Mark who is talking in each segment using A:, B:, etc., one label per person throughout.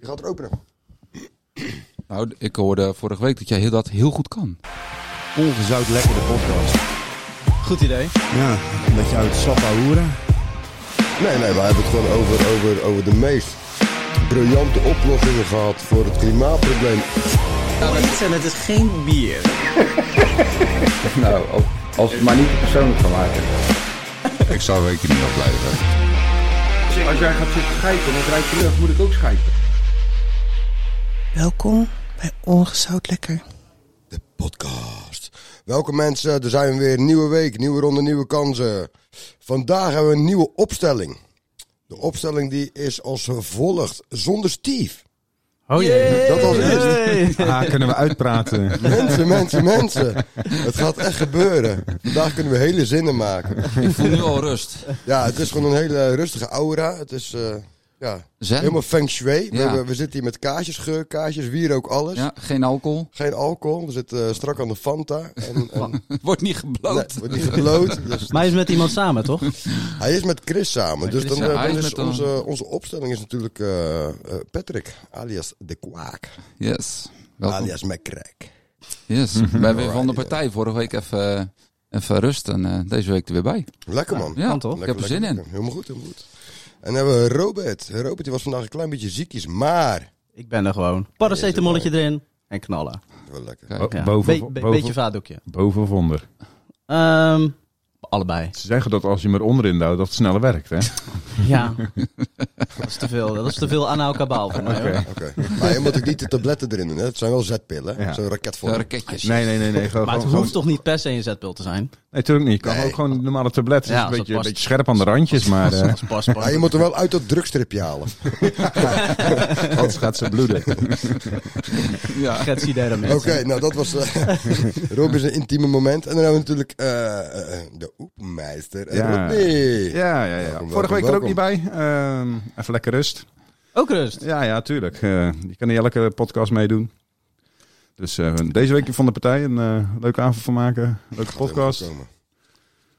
A: Je gaat er openen.
B: Nou, ik hoorde vorige week dat jij heel- dat heel goed kan.
C: Ongezout lekker de podcast.
D: Goed idee.
C: Ja, een beetje uit het sap hoeren.
A: Nee, nee, we hebben het gewoon over, over, over de meest briljante oplossingen gehad voor het klimaatprobleem.
D: En het is geen bier.
E: Nou, als- als het maar niet te persoonlijk van maken.
F: Ik zou er een keer niet op blijven.
E: Als jij gaat zitten schijpen, dan ruikt je lucht, moet ik ook schijpen.
G: Welkom bij Ongezout Lekker.
A: De podcast. Welkom mensen, er zijn weer nieuwe week, nieuwe ronde, nieuwe kansen. Vandaag hebben we een nieuwe opstelling. De opstelling die is als volgt. Zonder Steve.
D: Oh jee.
A: Dat als eerste.
C: Ah, kunnen we uitpraten.
A: Mensen, mensen, mensen. Het gaat echt gebeuren. Vandaag kunnen we hele zinnen maken.
B: Ik voel nu al rust.
A: Ja, het is gewoon een hele rustige aura. Het is eh, ja,
B: Zen.
A: helemaal feng shui. We,
B: Ja.
A: hebben- we zitten hier met kaarsjes, geurkaarsjes, wierook, alles.
B: Ja, geen alcohol.
A: Geen alcohol, we zitten eh, strak aan de Fanta. En, en,
B: Wordt niet
A: nee,
B: gebloot.
A: wordt niet gebloot. Dus
D: Maar hij is met iemand samen, toch?
A: hij is met Chris samen. Dus
B: Chris,
A: dan,
B: ja,
A: eh,
B: hij
A: dan
B: is
A: is
B: met dan-
A: onze, onze opstelling is natuurlijk eh, eh, Patrick, alias de Kwaak.
B: Yes. Welkom.
A: Alias McCrack.
B: Yes. We hebben weer van de
A: Nou, Alright,
B: partij. Vorige week even, eh, even rust en eh, deze week er weer bij.
A: Lekker man.
B: Ja,
D: kan toch?
B: ik heb er zin in.
A: lekker. Helemaal goed, helemaal goed. En dan hebben we Robert. Robert die was vandaag een klein beetje ziekjes, maar...
D: Ik ben er gewoon. Paracetamolletje erin en knallen.
A: Wel lekker.
B: Kijk.
D: Ja.
H: boven-
D: Be- be-
H: boven-
D: Beetje vaatdoekje.
H: Boven of onder?
D: Ehm, allebei.
H: Ze zeggen dat als je maar onderin houdt, dat het sneller werkt, hè?
D: Ja. dat is te veel. Dat is te veel anaukabaal voor mij. hoor.
A: Oké. maar je moet ook niet de tabletten erin doen, hè. Het zijn wel zetpillen.
H: Ja.
A: Zo'n
B: De
A: raketvorm.
B: raketjes.
H: Nee, nee, nee. nee gewoon,
D: Maar het
H: gewoon-
D: hoeft toch niet per se een zetpil te zijn?
H: Nee, natuurlijk niet. Je kan
A: Nee.
H: ook gewoon een normale tablet.
D: Ja,
H: Het is
D: als
H: een
D: dat
H: beetje, een
D: past.
H: beetje scherp aan de randjes, maar eh,
D: Als paspoort.
A: Maar je moet er wel uit dat drugstripje halen.
H: anders gaat ze bloeden.
B: Ja.
D: Gets idee daarmee.
A: Oké, nou dat was eh Robin's een intieme moment. En dan hebben we natuurlijk eh, eh, de eh, oepmeister.
H: Ja.
A: Rodney.
H: Ja, ja, ja.
A: Welkom,
H: Vorige week er ook
A: welkom,
H: niet bij. Ehm, even lekker rust.
D: Ook rust.
H: Ja, ja, tuurlijk. Eh, je kan niet elke podcast meedoen. Dus eh, deze week van de partij een eh, leuke avond van maken. Leuke podcast.
A: Welkom.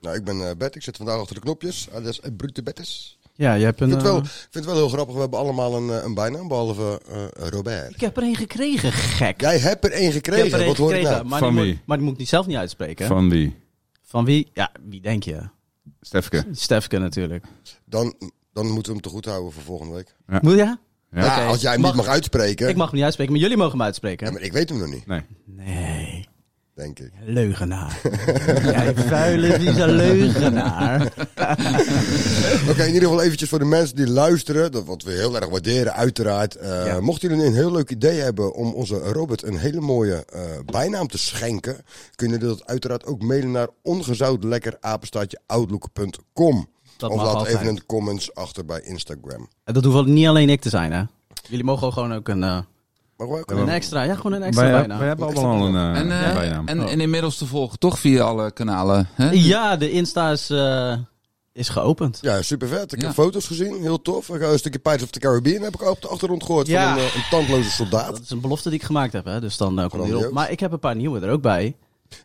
A: Nou, ik ben eh, Bert. Ik zit vandaag achter de knopjes. Ah, dat is eh, Brute Bettes.
D: Ja, je hebt
A: Ik
D: een...
A: vind, het wel,
D: eh,
A: ik vind het wel heel grappig. We hebben allemaal een, eh, een bijnaam, behalve eh, Robert.
D: Ik heb er een gekregen, gek.
A: Jij hebt er één gekregen.
D: Ik heb er een
A: Wat hoor ik
D: gekregen,
A: nou?
D: maar,
H: Van
D: die
H: wie?
D: Moet, maar die moet ik niet zelf niet uitspreken. Van,
H: Van die
D: wie? Ja, wie denk je?
H: Stefke.
D: Stefke natuurlijk.
A: Dan, dan moeten we hem te goed houden voor volgende week.
D: Moet je?
H: Ja.
A: Ja,
D: Oké.
A: als jij hem niet
D: Mag-
A: mag uitspreken.
D: Ik mag hem niet uitspreken, maar jullie mogen hem uitspreken.
A: Ja, maar ik weet hem nog niet,
D: Nee,
A: denk ik.
D: leugenaar. Jij vuile, vieze leugenaar.
A: Oké, in ieder geval eventjes voor de mensen die luisteren, dat wat we heel erg waarderen uiteraard. Eh,
D: Ja.
A: Mochten jullie een heel leuk idee hebben om onze Robert een hele mooie eh, bijnaam te schenken, kunnen jullie dat uiteraard ook mailen naar ongezoutlekkerapenstaatjeoutlook.com.
D: Dat
A: Of
D: mag
A: laat
D: altijd.
A: even een comments achter bij Instagram.
D: En dat hoeft niet alleen ik te zijn, hè? Jullie mogen gewoon ook een, eh,
A: Maar we ook
D: een extra, ja, gewoon een extra
H: Wij,
D: bijna.
H: wij hebben allemaal een, eh,
B: En, eh,
H: een bijnaam.
B: en, en inmiddels te volgen toch via alle kanalen. Hè?
D: Ja, de Insta is, eh, is geopend.
A: ja, super vet. Ik
B: Ja.
A: heb foto's gezien, heel tof. Ik heb een stukje Pirates of the Caribbean heb ik op de achtergrond gehoord
D: Ja.
A: van een, eh, een tandloze soldaat.
D: Dat is een belofte die ik gemaakt heb, hè? Dus dan eh, komt die erop.
A: Grandioos.
D: Maar ik heb een paar nieuwe er ook bij.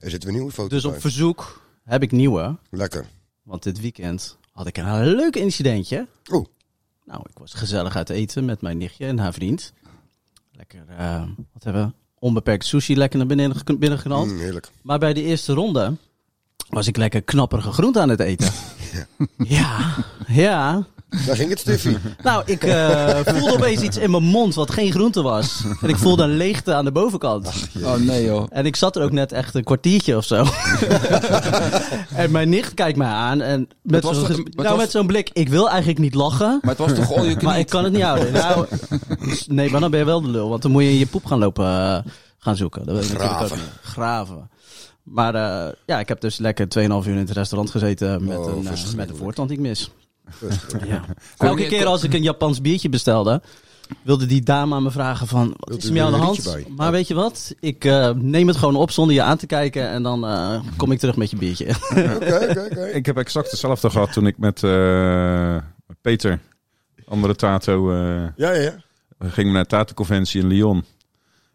A: Er zitten weer nieuwe foto's
D: Dus op
A: bij.
D: verzoek heb ik nieuwe.
A: Lekker.
D: Want dit weekend had ik een leuk incidentje.
A: Oeh.
D: Nou, ik was gezellig uit eten met mijn nichtje en haar vriend. Lekker, eh, wat hebben we? Onbeperkt sushi lekker naar binnen, binnen geknald.
A: Mm, heerlijk.
D: Maar bij de eerste ronde was ik lekker knapperige groente aan het eten. ja, ja.
A: Daar ging het, Stiffy.
D: Nou, ik eh, voelde opeens iets in mijn mond wat geen groente was. En ik voelde een leegte aan de bovenkant.
B: Oh nee joh.
D: En ik zat er ook net echt een kwartiertje of zo. en mijn nicht kijkt mij aan en met
B: was
D: zo'n
B: dat-
D: ges-
B: wat
D: nou,
B: was-
D: met zo'n blik, ik wil eigenlijk niet lachen,
B: Maar het was toch all you can
D: maar ik
B: eat?
D: kan het niet houden. Nou, nee, maar dan ben je wel de lul, want dan moet je in je poep gaan lopen eh, gaan zoeken. Dat wil je natuurlijk ook
A: Graven.
D: niet. Graven. Maar eh, ja, ik heb dus lekker 2,5 uur in het restaurant gezeten met,
A: Oh,
D: een, eh, met een
A: verschrikkelijk.
D: voortand die ik mis. Ja.
B: Kon
D: Elke
B: je-
D: keer
B: kon-
D: als ik een Japans biertje bestelde, wilde die dame aan me vragen van, wat
A: Wilt
D: is
A: u
D: er mee aan de
A: een
D: hand?
A: rietje bij?
D: Maar weet je wat? Ik eh, neem het gewoon op zonder je aan te kijken en dan eh, kom ik terug met je biertje.
A: Oké, oké, oké.
H: Ik heb exact hetzelfde gehad toen ik met eh, Peter, andere Tato, eh
A: Ja, ja, ja.
H: gingen we naar de Tato-conventie in Lyon.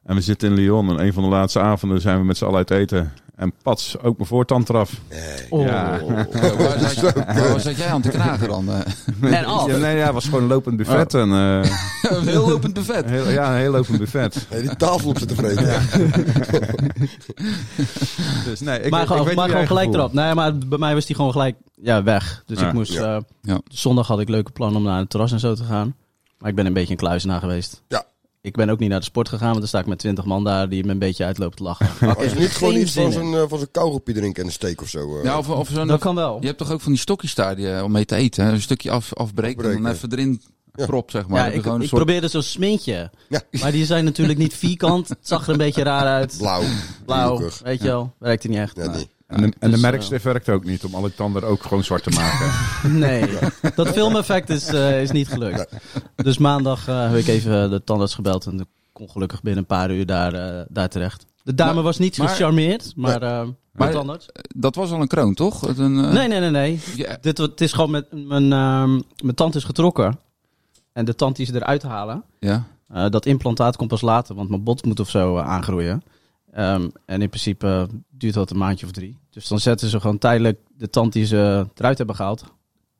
H: En we zitten in Lyon en een van de laatste avonden zijn we met z'n allen uit eten. En pats, ook mijn voortand eraf.
A: Nee.
D: Oh.
H: Ja.
B: Ja, Eh, waar, zat, waar zat jij aan te knagen dan? eh?
D: En af.
H: Ja, nee, ja, het was gewoon een lopend buffet. En, eh,
B: Een heel lopend buffet.
H: een heel, ja, een heel lopend buffet.
A: Nee, die tafel op zitten vreten.
H: Dus, nee, ik,
D: maar
H: ik
D: gewoon,
H: weet
D: maar
H: niet
D: gewoon
H: jij
D: gelijk
H: gevoel.
D: erop. Nee, maar bij mij was die gewoon gelijk ja, weg. Dus
H: Ja.
D: ik moest... eh,
B: Ja.
D: Zondag had ik leuke plannen om naar het terras en zo te gaan. Maar ik ben een beetje een kluizenaar geweest.
A: Ja.
D: Ik ben ook niet naar de sport gegaan, want dan sta ik met twintig man daar die me een beetje uitlopen te lachen.
H: Oh,
A: Maar is het niet gewoon
D: Geen
A: iets van
D: zin
A: zo'n eh, van zo'n kauwgompie drinken en een steek of zo? eh?
B: Ja, of, of zo'n,
D: Dat kan wel.
B: je hebt toch ook van die stokjes daar die, eh, om mee te eten? hè? Een stukje af, afbreken en dan
A: Afbreken.
B: even erin
A: Ja.
B: prop, zeg maar. Dan
D: ja,
B: heb je
D: ik,
B: gewoon
D: ik
B: een soort-
D: probeerde zo'n smintje.
A: Ja.
D: Maar die zijn natuurlijk niet vierkant. Het zag er een beetje raar uit.
A: Blauw.
D: Blauw,
A: driehoekig.
D: weet je wel. Werkte niet echt.
A: Ja,
D: maar-
A: die.
H: En de, en de
D: Dus,
H: merkstift werkt ook niet om alle tanden ook gewoon zwart te maken.
D: Nee, dat filmeffect is, eh, is niet gelukt. Dus maandag eh, heb ik even de tandarts gebeld en ik kon gelukkig binnen een paar uur daar, eh, daar terecht. De dame
B: Maar-
D: was niet
B: maar-
D: gecharmeerd, maar, eh
B: Maar-
D: de tandarts.
B: Dat was al een kroon, toch? Het Een, eh,
D: Nee, nee, nee, nee.
B: ja,
D: Dit, wa- het is gewoon met mijn, ehm, mijn tand is getrokken. En de tand die ze eruit halen,
B: ja.
D: eh, dat implantaat komt pas later, want mijn bot moet of zo eh, aangroeien. Ehm, en in principe eh, duurt dat een maandje of drie. Dus dan zetten ze gewoon tijdelijk de tand die ze eruit hebben gehaald,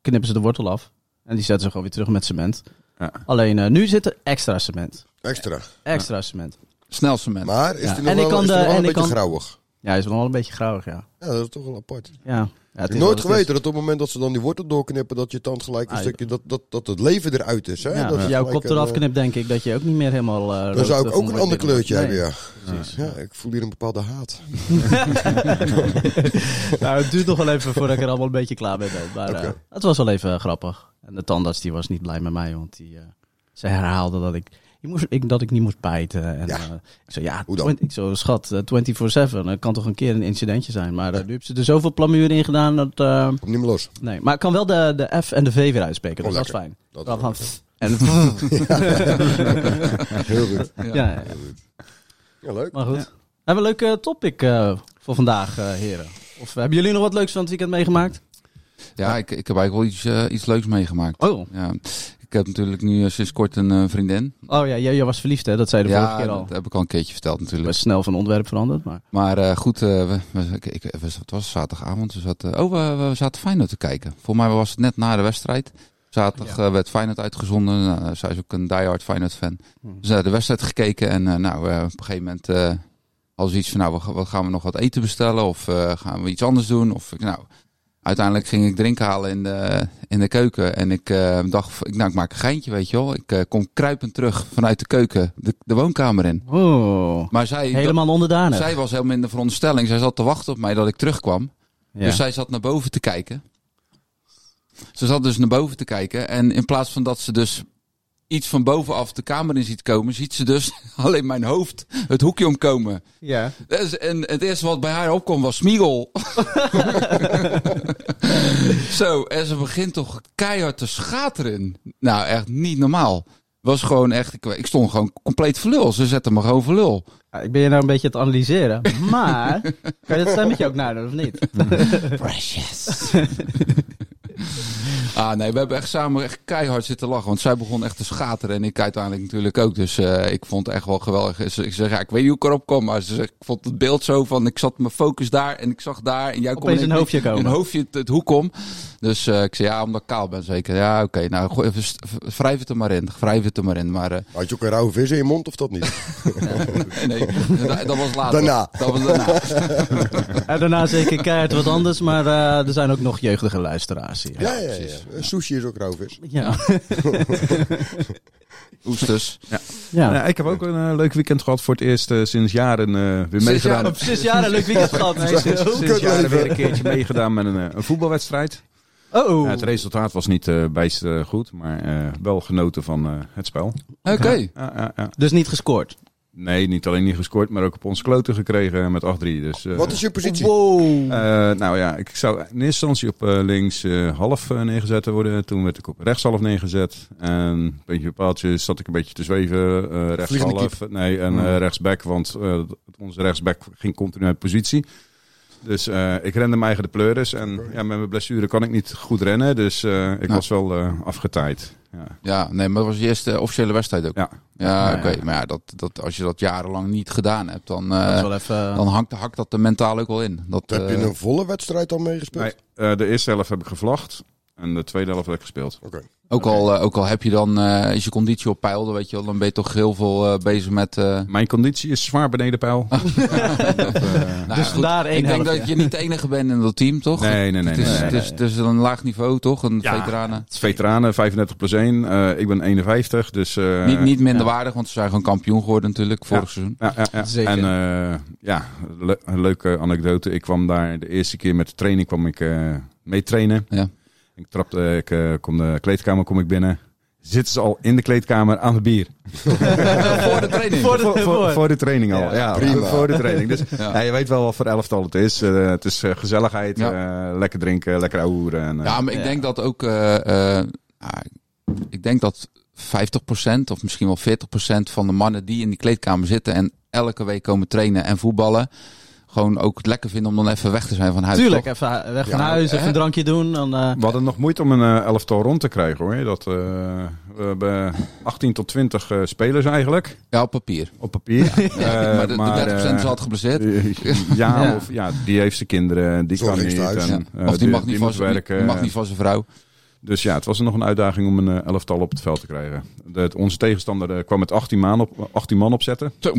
D: knippen ze de wortel af. En die zetten ze gewoon weer terug met cement.
H: Ja.
D: Alleen eh, nu zit er extra cement.
A: Extra.
D: Extra cement.
B: Snel cement.
A: Maar is
D: Ja.
A: die
D: En
A: nog wel,
D: ik
A: is
D: kan
A: die
D: de-
A: nog wel
D: en
A: een
D: ik
A: beetje
D: kan-
A: grauwig?
D: Ja, hij is wel een beetje grauwig, ja.
A: Ja, dat is toch wel apart.
D: ja. ja het
A: Ik heb
D: is
A: nooit
D: wel- het
A: geweten dat op het moment dat ze dan die wortel doorknippen, dat je tand gelijk een
D: Ah,
A: stukje, dat, dat, dat het leven eruit is. Hè?
D: is- Ja,
A: dat
D: als
A: is
D: je jouw
A: gelijk
D: kop eraf
A: een,
D: knipt, denk ik dat je ook niet meer helemaal. eh,
A: eh, Dan
D: rood,
A: zou
D: eh,
A: ik ook een
D: vondelend
A: ander
D: binnen-
A: kleurtje
D: Nee.
A: hebben, ja.
D: Precies.
A: ja. Ik voel hier een bepaalde haat.
D: nou, het duurt nog wel even voordat ik er allemaal een beetje klaar mee ben. Maar eh, het was wel even grappig. En de tandarts die was niet blij met mij, want die, eh, ze herhaalde dat ik, je moest, ik, dat ik niet moest bijten. En,
A: Ja.
D: eh, ik zei, ja,
A: Hoe dan?
D: 20 ik zo, schat, eh, 24-7, dat kan toch een keer een incidentje zijn. Maar eh, nu hebben ze er zoveel plamuur in gedaan dat... eh,
A: Kom niet meer los.
D: nee, maar ik kan wel de, de F en de V weer uitspreken,
A: Oh,
D: dus dat is
A: lekker.
D: fijn.
A: Dat
D: Dan
A: is
D: gaan we- en het-
A: Heel goed.
D: ja,
B: Ja.
D: ja,
A: Ja, leuk.
D: maar goed. We hebben een leuke topic eh, voor vandaag, eh, heren. Of hebben jullie nog wat leuks van het weekend meegemaakt?
B: Ja, ik, ik heb eigenlijk wel iets, eh, iets leuks meegemaakt.
D: Oh,
B: Ja, ik heb natuurlijk nu eh, sinds kort een eh, vriendin.
D: Oh ja, jij, jij was verliefd, hè? Dat zei je de vorige
B: ja,
D: keer al.
B: dat heb ik al een keertje verteld
D: Ik
B: natuurlijk.
D: ben snel van onderwerp veranderd, maar...
B: Maar eh, goed, eh, we, we- ik, ik- we- het was zaterdagavond. We zaten, oh, we, we zaten Feyenoord te kijken. Volgens mij was het net na de wedstrijd. Zaterdag eh, werd Feyenoord uitgezonden. Nou, zij is ook een diehard Feyenoord fan.
D: Hmm.
B: Dus eh, de wedstrijd gekeken. En eh, nou, eh, op een gegeven moment eh hadden ze iets van... Nou, we gaan- wat gaan we nog wat eten bestellen? Of eh, gaan we iets anders doen? Of ik, nou... Uiteindelijk ging ik drinken halen in de, in de keuken. En ik eh, dacht, ik, nou, ik maak een geintje, weet je wel. Ik eh, kom kruipend terug vanuit de keuken de, de woonkamer in.
D: Oh,
B: Maar zij...
D: helemaal onderdanig.
B: Zij was helemaal in de veronderstelling. Zij zat te wachten op mij dat ik terugkwam.
D: Ja.
B: Dus zij zat naar boven te kijken. Ze zat dus naar boven te kijken. En in plaats van dat ze dus iets van bovenaf de kamer in ziet komen, ziet ze dus alleen mijn hoofd het hoekje omkomen.
D: ja.
B: Dus- En het eerste wat bij haar opkwam was Smiegel. Zo, en ze begint toch keihard te schateren. Nou, echt niet normaal. Was gewoon echt, ik, ik stond gewoon compleet voor lul. Ze zette me gewoon voor lul.
D: Ja, Ik ben je nou een beetje aan het analyseren, maar... kan je dat stemmetje ook nadoen, of niet?
B: Precious. ah nee, we hebben echt samen echt keihard zitten lachen. Want zij begon echt te schateren en ik uiteindelijk natuurlijk ook. Dus eh, ik vond het echt wel geweldig. Dus Ik zeg, ja, ik weet niet hoe ik erop kwam. Maar ze zegt, ik vond het beeld zo van, ik zat mijn focus daar en ik zag daar. En jij kon
D: Opeens
B: in-
D: een hoofdje komen.
B: Een hoofdje het, het hoek om. Dus eh, ik zei, ja, omdat ik kaal ben zeker. Ja, oké, nou, gooi even st- v- wrijf het er maar in. Wrijf het er maar in. Maar eh,
A: Had je ook een rauwe vis in je mond of dat niet?
B: nee, dat, dat was later.
A: Daarna.
B: Dat was daarna.
D: en daarna zeker keihard wat anders, maar eh, er zijn ook nog jeugdige luisteraars hier.
A: Ja, ja, ja. Eh, Sushi is ook rauwvis.
D: Ja.
B: Oesters.
D: ja.
H: Ja, ik heb ook een eh, leuk weekend gehad voor het eerst eh, sinds jaren eh, weer meegedaan.
D: Op zes jaar een leuk weekend gehad.
H: Nee, sinds, sinds jaren
A: leven.
H: weer een keertje meegedaan met een, eh, een voetbalwedstrijd.
D: Oh,
H: Ja, het resultaat was niet eh bijst eh, goed, maar eh, wel genoten van eh, het spel.
B: Oké.
H: Ja, ja, ja.
D: dus niet gescoord.
H: Nee, niet alleen niet gescoord, maar ook op onze kloten gekregen met 8-3. Dus, eh,
A: Wat is je positie?
D: Wow.
H: eh, nou ja, ik zou in eerste instantie op eh, links eh, half eh, neergezet worden. Toen werd ik op rechts half neergezet. En een beetje op paaltjes zat ik een beetje te zweven. eh rechts
A: Vliegende
H: half. Nee, en eh, rechtsback, want eh, onze rechtsback ging continu uit positie. Dus eh, ik rende mijn eigen de pleuris. En ja, met mijn blessure kan ik niet goed rennen. Dus eh, ik
B: Ja.
H: was wel eh afgetijd. Ja.
B: Ja, nee, maar dat was je eerste officiële wedstrijd ook.
H: Ja.
B: Ja,
D: Ja,
B: oké.
D: ja.
B: Maar ja, dat, dat, als je dat jarenlang niet gedaan hebt, dan, eh,
D: Dat is wel even...
B: dan hangt, hakt dat er mentaal ook wel in. Dat,
A: Heb je
B: eh,
A: een volle wedstrijd al meegespeeld?
H: Nee, eh, de eerste helft heb ik gevlacht. En de tweede helft heb ik gespeeld.
A: Oké.
B: ook, al, eh, ook al heb je dan, eh, is je conditie op peil, dan weet je wel, dan ben je toch heel veel eh, bezig met... eh,
H: Mijn conditie is zwaar beneden peil.
B: Oh, nou,
D: Dus
B: ja,
D: vandaar één
B: Ik denk
D: helft,
B: dat je niet de enige bent in dat team, toch?
H: Nee, nee, nee.
B: het, is,
H: nee, nee.
B: het, is, het is een laag niveau, toch? Een
H: Ja.
B: veteranen.
H: Het is veteranen, 35 plus 1. eh, ik ben 51, dus... eh,
B: niet, niet minder waardig, want ze zijn gewoon kampioen geworden natuurlijk vorig seizoen.
H: Ja, ja, ja.
D: Zeker.
H: En eh, ja, le- een leuke anekdote. Ik kwam daar de eerste keer met de training kwam ik eh, mee trainen.
B: Ja.
H: Ik trapte, ik eh, kom de kleedkamer kom ik binnen. Zitten ze al in de kleedkamer aan het bier?
B: Voor de training.
D: Voor de-
H: voor, voor, voor de training al. Ja,
A: prima.
H: Voor de training. Dus
B: Ja.
H: ja, je weet wel wat voor elftal het is. Eh, het is eh, gezelligheid,
B: Ja.
H: eh, lekker drinken, lekker ouwen. En, eh,
B: Ja, maar ik
D: Ja.
B: denk dat ook. eh, eh, ah, ik denk dat 50% of misschien wel 40% van de mannen die in die kleedkamer zitten en elke week komen trainen en voetballen. Gewoon ook het lekker vinden om dan even weg te zijn van huis.
D: Tuurlijk,
B: toch?
D: even weg van
B: Ja,
D: huis,
B: hè?
D: even een drankje doen. Dan, eh,
H: We hadden nog moeite om een eh, elftal rond te krijgen hoor. Dat, eh, we hebben 18 tot 20 eh, spelers eigenlijk
B: Ja, op papier.
H: op papier.
B: Ja,
H: Eh,
B: maar de,
H: maar,
B: de 30% is
H: eh,
B: altijd geblesseerd.
H: Eh, ja,
D: Ja.
H: Of, ja, die heeft zijn kinderen, die
A: Zorg
H: kan
A: is
H: niet.
A: thuis.
H: en,
B: Ja.
H: eh,
B: Of die mag niet van
H: moet
B: zijn-
H: werken. eh.
B: die mag niet van zijn vrouw.
H: Dus ja, het was nog een uitdaging om een eh, elftal op het veld te krijgen. Dat onze tegenstander eh, kwam met 18 man, op, 18 man opzetten.
B: Zo.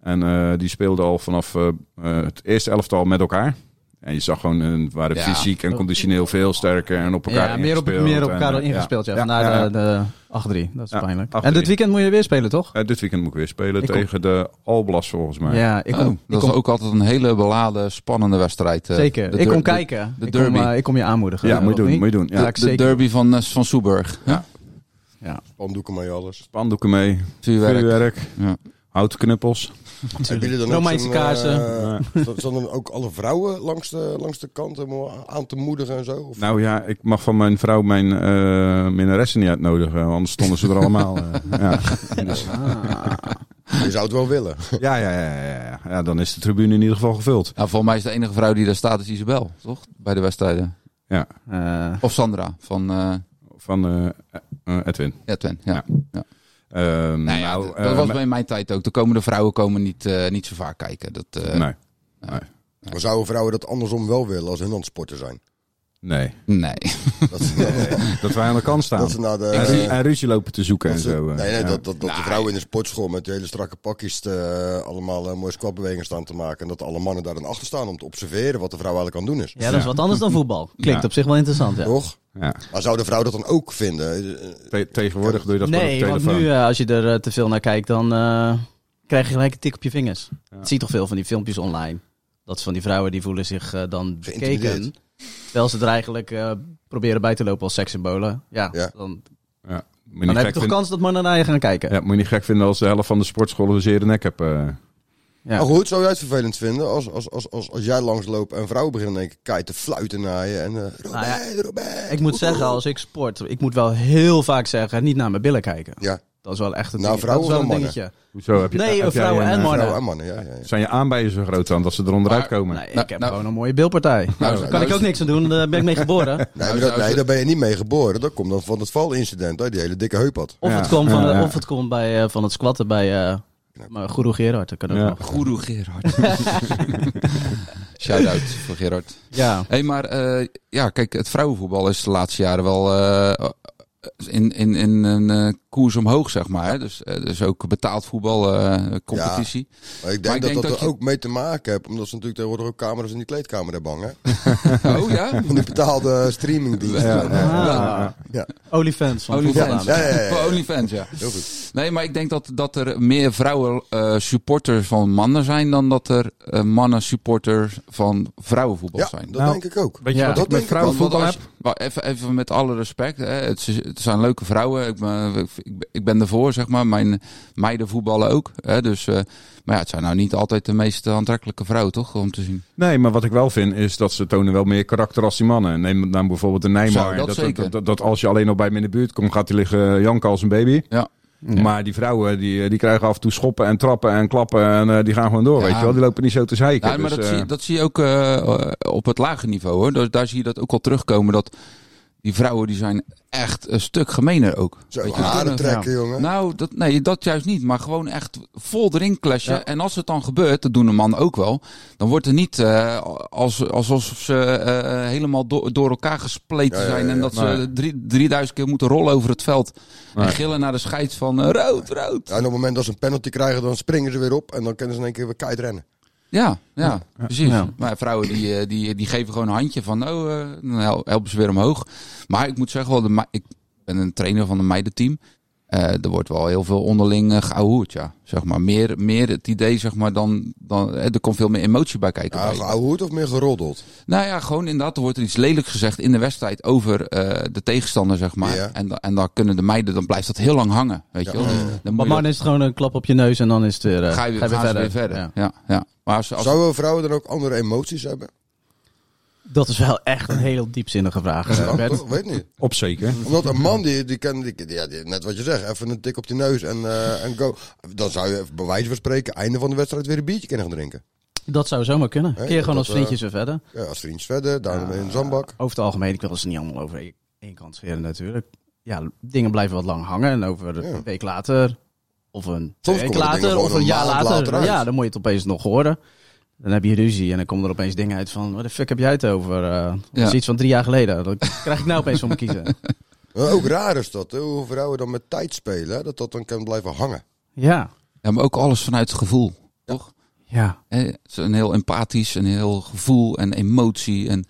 H: En eh, die speelden al vanaf eh, eh, het eerste elftal met elkaar. En je zag gewoon, eh, waren
B: Ja.
H: fysiek en conditioneel veel sterker en op elkaar
D: ja, meer op,
H: ingespeeld
D: meer op
H: en,
D: elkaar
H: eh,
D: ingespeeld, ja.
H: Ja,
D: Vandaar
H: ja, ja.
D: de, de 8-3, dat is
H: Ja,
D: pijnlijk.
H: 8-3.
D: En dit weekend moet je weer spelen, toch?
H: Eh, dit weekend moet ik weer spelen
D: Ik kom-
H: tegen de Alblas volgens mij.
D: Ja, ik kom,
B: Oh,
D: ik
B: dat
D: kom,
B: is ook altijd een hele beladen, spannende wedstrijd. eh. De
D: zeker. ik
B: der-
D: kom
B: de-
D: kijken.
B: de
D: ik, kom,
B: derby.
D: eh, ik kom je aanmoedigen.
H: Ja, moet je
D: of
H: doen,
D: niet?
H: moet je doen.
D: Ja,
H: Ja.
D: ik
B: De
D: zeker.
B: derby van, eh, van Soeburg. Ja.
A: Spandoeken mee alles.
H: Spandoeken mee,
B: Vuurwerk.
H: vuurwerk,
B: Ja.
H: houten knuppels.
A: Hebben jullie dan
D: Romeinse
A: ook
D: kaarsen.
A: eh, sta- staan dan ook alle vrouwen langs de, langs de kant helemaal aan te moedigen en zo? Of
H: Nou ja, ik mag van mijn vrouw mijn eh minnaressen niet uitnodigen, anders stonden ze er allemaal. eh, ja. Dus-
A: je zou het wel willen.
H: ja, ja, ja, ja, ja. Ja, dan is de tribune in ieder geval gevuld.
B: Nou, volgens mij is de enige vrouw die daar staat is Isabel, toch? Bij de wedstrijden.
D: Eh,
B: Of Sandra van eh
H: Van eh, eh, Edwin.
B: ja, Twen. Ja.
H: Ehm,
B: Nou ja,
H: nou,
B: d- dat
H: eh,
B: was
H: me-
B: bij mijn tijd ook. De komende vrouwen komen niet, eh, niet zo vaak kijken. Dat, eh,
H: Nee,
A: Maar zouden vrouwen dat andersom wel willen als hun aan het sporten zijn?
H: nee.
B: nee.
A: Dat ze,
H: Dat wij aan de kant staan.
A: dat ze naar de...
H: En, ru-
A: eh,
H: en ruzie lopen te zoeken en
A: dat ze-
H: zo. eh.
A: nee, nee,
H: Ja.
A: dat, dat, dat de vrouwen in de sportschool met die hele strakke pakjes eh, allemaal een mooie squatbewegingen staan te maken. En dat alle mannen daar dan achter staan om te observeren wat de vrouw eigenlijk aan het doen is.
D: ja, dat is
H: Ja.
D: wat anders dan voetbal. Klinkt
H: Ja.
D: op zich wel interessant,
H: Oh,
D: ja.
A: Toch?
H: Ja.
A: Maar zou de vrouw dat dan ook vinden? Eh,
H: Te- tegenwoordig doe je dat
D: nee,
H: gewoon op
D: want
H: de telefoon.
D: nu eh, als je er eh, te veel naar kijkt, dan eh, krijg je gelijk een tik op je vingers.
H: Ja.
D: Het zie je toch veel van die filmpjes online. Dat is van die vrouwen die voelen zich eh, dan bekeken.
A: Geïntimideerd.
D: Terwijl ze er eigenlijk eh, proberen bij te lopen als sekssymbolen. Ja,
A: Ja.
D: dan,
H: moet, je
D: dan
H: niet
D: heb je
H: gek
D: toch
H: vinden-
D: kans dat mannen naar je gaan kijken.
H: ja, moet je niet gek vinden als de helft van de sportschool een zere nek hebt. eh.
D: Ja.
A: Maar goed, zou jij het vervelend vinden als, als, als, als, als jij langsloopt en vrouwen beginnen in één keer keihard te fluiten naar je en eh Robijn,
D: Nou ja,
A: Robijn.
D: Ik moet zeggen, als ik sport, ik moet wel heel vaak zeggen, niet naar mijn billen kijken.
A: Ja.
D: Dat is wel echt het
A: Nou,
D: dingetje.
A: vrouwen
D: dat is
A: of
D: wel een
A: mannen?
D: dingetje.
H: Hoezo heb je
D: Nee,
H: heb jij
D: vrouwen
H: een,
D: en
H: eh,
D: mannen.
A: Vrouwen en mannen, ja. ja, ja.
H: Zijn je aanbijen zo groot dan dat ze er onderuit komen?
D: Nee, ik
B: Nou,
D: heb
B: nou-
D: gewoon een mooie bilpartij.
B: Nou,
D: Daar kan
B: nou
D: ik
B: is-
D: ook niks aan doen, daar ben ik mee
A: Nee,
D: geboren.
A: maar dat,
B: Nou,
A: nee,
B: ze-
A: daar ben je niet mee geboren. Dat komt dan van het valincident, dat je die hele dikke heup had.
D: Of,
H: Ja,
D: het, komt van,
H: ja,
D: de-
H: ja.
D: of het komt bij, eh, van het squatten bij eh maar Guru Gerard. Dat kan ook
H: Ja.
D: nog.
B: Guru Gerard. Shout-out voor Gerard.
D: Ja.
B: Hé, hey, maar eh, ja, kijk, het vrouwenvoetbal is de laatste jaren wel eh, in, in, in een eh, koers omhoog, zeg maar. hè. Dus, eh, dus ook betaald voetbal, eh, competitie.
A: Maar ik denk
B: Maar
A: dat
B: ik denk
A: dat,
B: dat
A: er
B: je-
A: ook mee te maken heeft, omdat ze natuurlijk tegenwoordig ook camera's in die kleedkamer hebben hangen. hè.
B: Oh ja?
A: Van die betaalde streamingdiensten.
H: Ja, ja.
D: Ah.
A: Ja.
D: Olifants van
B: OnlyFans.
D: voetbalnamen.
A: Ja, ja, ja, ja.
B: Voor OnlyFans, ja.
A: Heel goed.
B: Nee, maar ik denk dat, dat er meer vrouwen eh, supporters van mannen zijn dan dat er eh, mannen supporters van vrouwenvoetbal
A: Ja,
B: zijn.
A: dat denk ik ook.
H: Weet je
D: Ja.
H: wat
A: Dat
H: ik met
A: denk ik
B: Want- want
H: vrouwenvoetbal
B: als
H: heb?
B: je- wa- even, even met alle respect. Hè, het, z- het zijn leuke vrouwen. Ik ben, ik, ben- ik ben ervoor, zeg maar. Mijn meiden voetballen ook. Hè, dus, eh, maar ja, het zijn nou niet altijd de meest aantrekkelijke vrouwen, toch? Om te zien.
H: Nee, maar wat ik wel vind is dat ze tonen wel meer karakter als die mannen. Neem dan bijvoorbeeld de Neymar.
B: Zo, dat zeker.
H: dat, dat als je alleen al bij hem in de buurt komt, gaat hij liggen janken als een baby.
B: Ja.
H: Ja. Maar die vrouwen die, die krijgen af en toe schoppen en trappen en klappen en eh, die gaan gewoon door,
B: Ja.
H: weet je wel. Die lopen niet zo te zeiken.
B: Ja, maar
H: dus,
B: dat,
H: eh,
B: zie, dat zie je ook eh, op het lage niveau hoor. Dus Daar, daar zie je dat ook al terugkomen dat die vrouwen die zijn echt een stuk gemener ook.
A: Zo,
B: Weet je,
A: haren
B: kunnen-
A: trekken, jongen.
B: Nou, dat, nee, dat juist niet. Maar gewoon echt vol erin clashen.
D: Ja.
B: En als het dan gebeurt, dat doen een man ook wel. Dan wordt er niet eh, als, alsof ze eh, helemaal do- door elkaar gespleten
A: Ja, ja, ja,
B: zijn. En
A: ja.
B: dat
H: Nee.
B: ze drie, 3000 keer moeten rollen over het veld.
H: Nee.
B: En gillen naar de scheids van eh, rood, rood.
A: Ja, en op het moment dat ze een penalty krijgen, dan springen ze weer op. En dan kunnen ze in één keer weer keihard rennen.
B: Ja, ja, precies.
D: Ja.
B: Maar vrouwen die, eh, die, die geven gewoon een handje van, oh, eh, dan hel- helpen ze weer omhoog. Maar ik moet zeggen, wel, de mei- ik ben een trainer van een meidenteam. Eh, er wordt wel heel veel onderling eh, geouwehoerd, ja. Zeg maar, meer, meer het idee, zeg maar, dan, dan eh, er komt veel meer emotie bij kijken.
A: Ja,
B: bij.
A: geouwehoerd of meer geroddeld?
B: Nou ja, gewoon inderdaad, er wordt er iets lelijks gezegd in de wedstrijd over eh, de tegenstander, zeg maar.
A: Ja.
B: En, dan- en dan kunnen de meiden, dan blijft dat heel lang hangen, weet je wel. Dan moet je
D: Maar
B: dat-
D: man is het gewoon een klap op je neus en dan is het weer, eh,
B: ga je, gaan ze weer verder. Ja.
D: Ja.
B: Ja, Maar als, als,
A: Zouden vrouwen dan ook andere emoties hebben?
D: Dat is wel echt een heel diepzinnige vraag. eh,
A: Ja,
D: Bert.
A: toch? Weet niet.
H: Op zeker.
A: Omdat een man die, die kan, die, die- ja, die- net wat je zegt, even een tik op je neus en, eh, en go. Dan zou je bij wijze van spreken, einde van de wedstrijd weer een biertje kunnen gaan drinken.
D: Dat zou zomaar kunnen.
A: Hè,
D: Keer gewoon
A: dat,
D: als vriendjes weer verder.
A: Ja, als vriendjes verder, daarna in een zandbak.
D: Over het algemeen, ik wil ze niet allemaal over één kant scheren natuurlijk. Ja, dingen blijven wat lang hangen en over
A: Ja.
D: een week later, of een
A: Soms
D: twee week
A: komen dingen
D: later,
A: gewoon
D: of een
A: een
D: jaar
A: maand
D: later,
A: later uit.
D: ja, dan moet je het opeens nog horen. Dan heb je ruzie en dan komen er opeens dingen uit van, wat de fuck heb jij het over? eh
B: Ja.
D: Dat is iets van drie jaar geleden, dat krijg ik nou opeens van me kiezen.
A: Maar ook raar is dat, hè, hoe vrouwen dan met tijd spelen, hè, dat dat dan kan blijven hangen.
D: Ja,
B: Ja, maar ook alles vanuit het gevoel, toch?
D: ja.
B: Hè, het is een heel empathisch, een heel gevoel en emotie. En,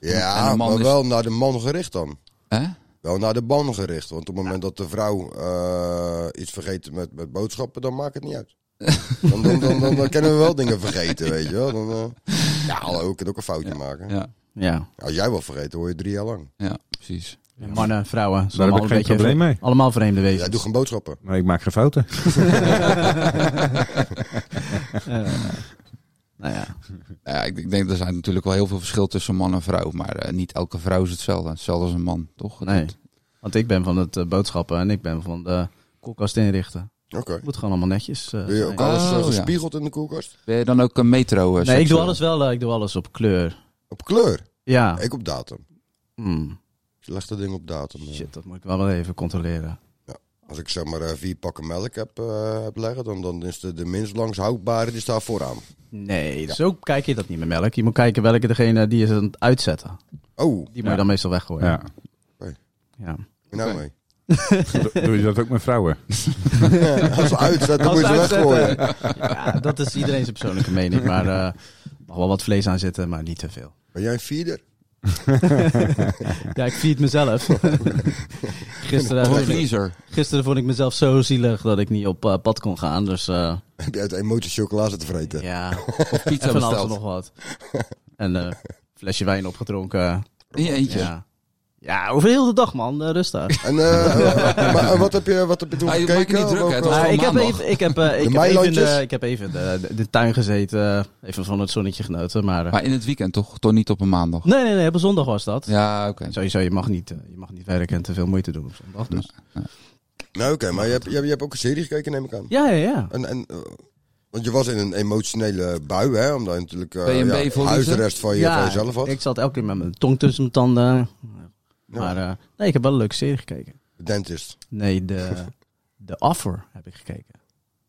B: En
A: Ja,
B: een man
A: maar
B: is-
A: wel naar de man gericht dan.
B: hè?
A: Wel naar de man gericht, want op het moment dat de vrouw eh, iets vergeet met, met boodschappen, dan maakt het niet uit. Dan, dan, dan, dan, dan kunnen we wel dingen vergeten, weet je wel. Dan, eh, ja, hallo, ik kan ook een foutje maken.
B: Ja,
D: Ja,
A: Als jij wel vergeten, hoor je drie jaar lang.
B: ja, precies.
D: mannen, vrouwen, ze
H: Daar heb
D: allemaal
H: ik
D: een
H: geen
D: beetje-
H: probleem mee.
D: Allemaal vreemde
A: Jij doet
D: wezens.
A: geen boodschappen.
H: Maar ik maak geen fouten.
D: Eh, nou ja.
B: Nou Ja, ik, ik denk, er zijn natuurlijk wel heel veel verschil tussen man en vrouw. Maar eh, niet elke vrouw is hetzelfde. Hetzelfde als een man, toch?
D: Nee. Want ik ben van het eh, boodschappen en ik ben van de koelkast inrichten.
A: Oké.
D: Het moet gewoon allemaal netjes. eh,
A: Wil je
D: zijn.
A: ook alles eh,
B: Oh, ja.
A: gespiegeld in de koelkast?
B: Ben je dan ook een metro? eh,
D: nee, ik doe
B: seksueel?
D: alles wel. eh, ik doe alles op kleur.
A: Op kleur?
D: Ja.
A: Ik op datum.
D: Hmm.
A: Ik leg dat ding op datum. eh.
D: Shit, dat moet ik wel even controleren.
A: Als ik zeg maar eh, vier pakken melk heb, eh, heb leggen, dan, dan is de, de minst langs houdbare, die staat vooraan.
D: Nee, zo kijk je dat niet met melk. Je moet kijken welke degene die is aan het uitzetten.
A: Oh,
D: Die moet je dan meestal weggooien.
H: Ja.
D: Ja.
A: ben nou mee.
H: Doe- Doe je dat ook met vrouwen?
A: Als ze uitzetten,
D: Als
A: moet je ze
D: uitzetten.
A: weggooien.
D: Ja, dat is iedereen zijn persoonlijke mening. Maar eh mag wel wat vlees aan zitten, maar niet te veel.
A: Ben jij een vierder?
D: Ja, ik feed mezelf. gisteren,
B: Of een vliezer.
D: gisteren vond ik mezelf zo zielig dat ik niet op eh, pad kon gaan. Dus eh,
A: Heb je uit emotie chocola zitten vreten?
D: ja,
B: Of pizza
D: en van alles
B: besteld.
D: en nog wat. En eh, flesje wijn opgetronken.
B: In je eentje.
D: Ja. ja, over heel de dag, man. Eh, rustig.
A: En eh, eh, maar, eh, wat, heb je, wat heb je toen
B: Ah, je
A: gekeken?
B: maakt niet druk, hè? Het
A: Welke-
B: was
D: Maar
B: wel
D: ik, heb
B: maandag.
D: even, ik, heb, eh, ik, heb even in
A: meilandjes?
D: de, ik heb even in de, de, de tuin gezeten. eh, Even van het zonnetje genoten. Maar, eh,
B: Maar in het weekend toch? Toch niet op een maandag?
D: nee, nee, nee. Op een zondag was dat.
B: Ja, oké.
D: Sowieso, je mag, niet, eh, je mag niet werken en te veel moeite doen op zondag. Dus.
A: Nou, oké, maar je hebt, je, hebt, je hebt ook een serie gekeken, neem ik aan.
D: Ja, ja, ja.
A: En, en, eh, want je was in een emotionele bui, hè? Omdat je natuurlijk eh,
B: B&B
A: ja,
B: verliezen.
A: huisarrest van, Oh, je, van
D: ja,
A: jezelf had.
D: ik zat elke keer met mijn tong tussen mijn tanden. Maar eh, nee, ik heb wel een leuke serie gekeken.
A: Dentist.
D: Nee, de, de Offer heb ik gekeken.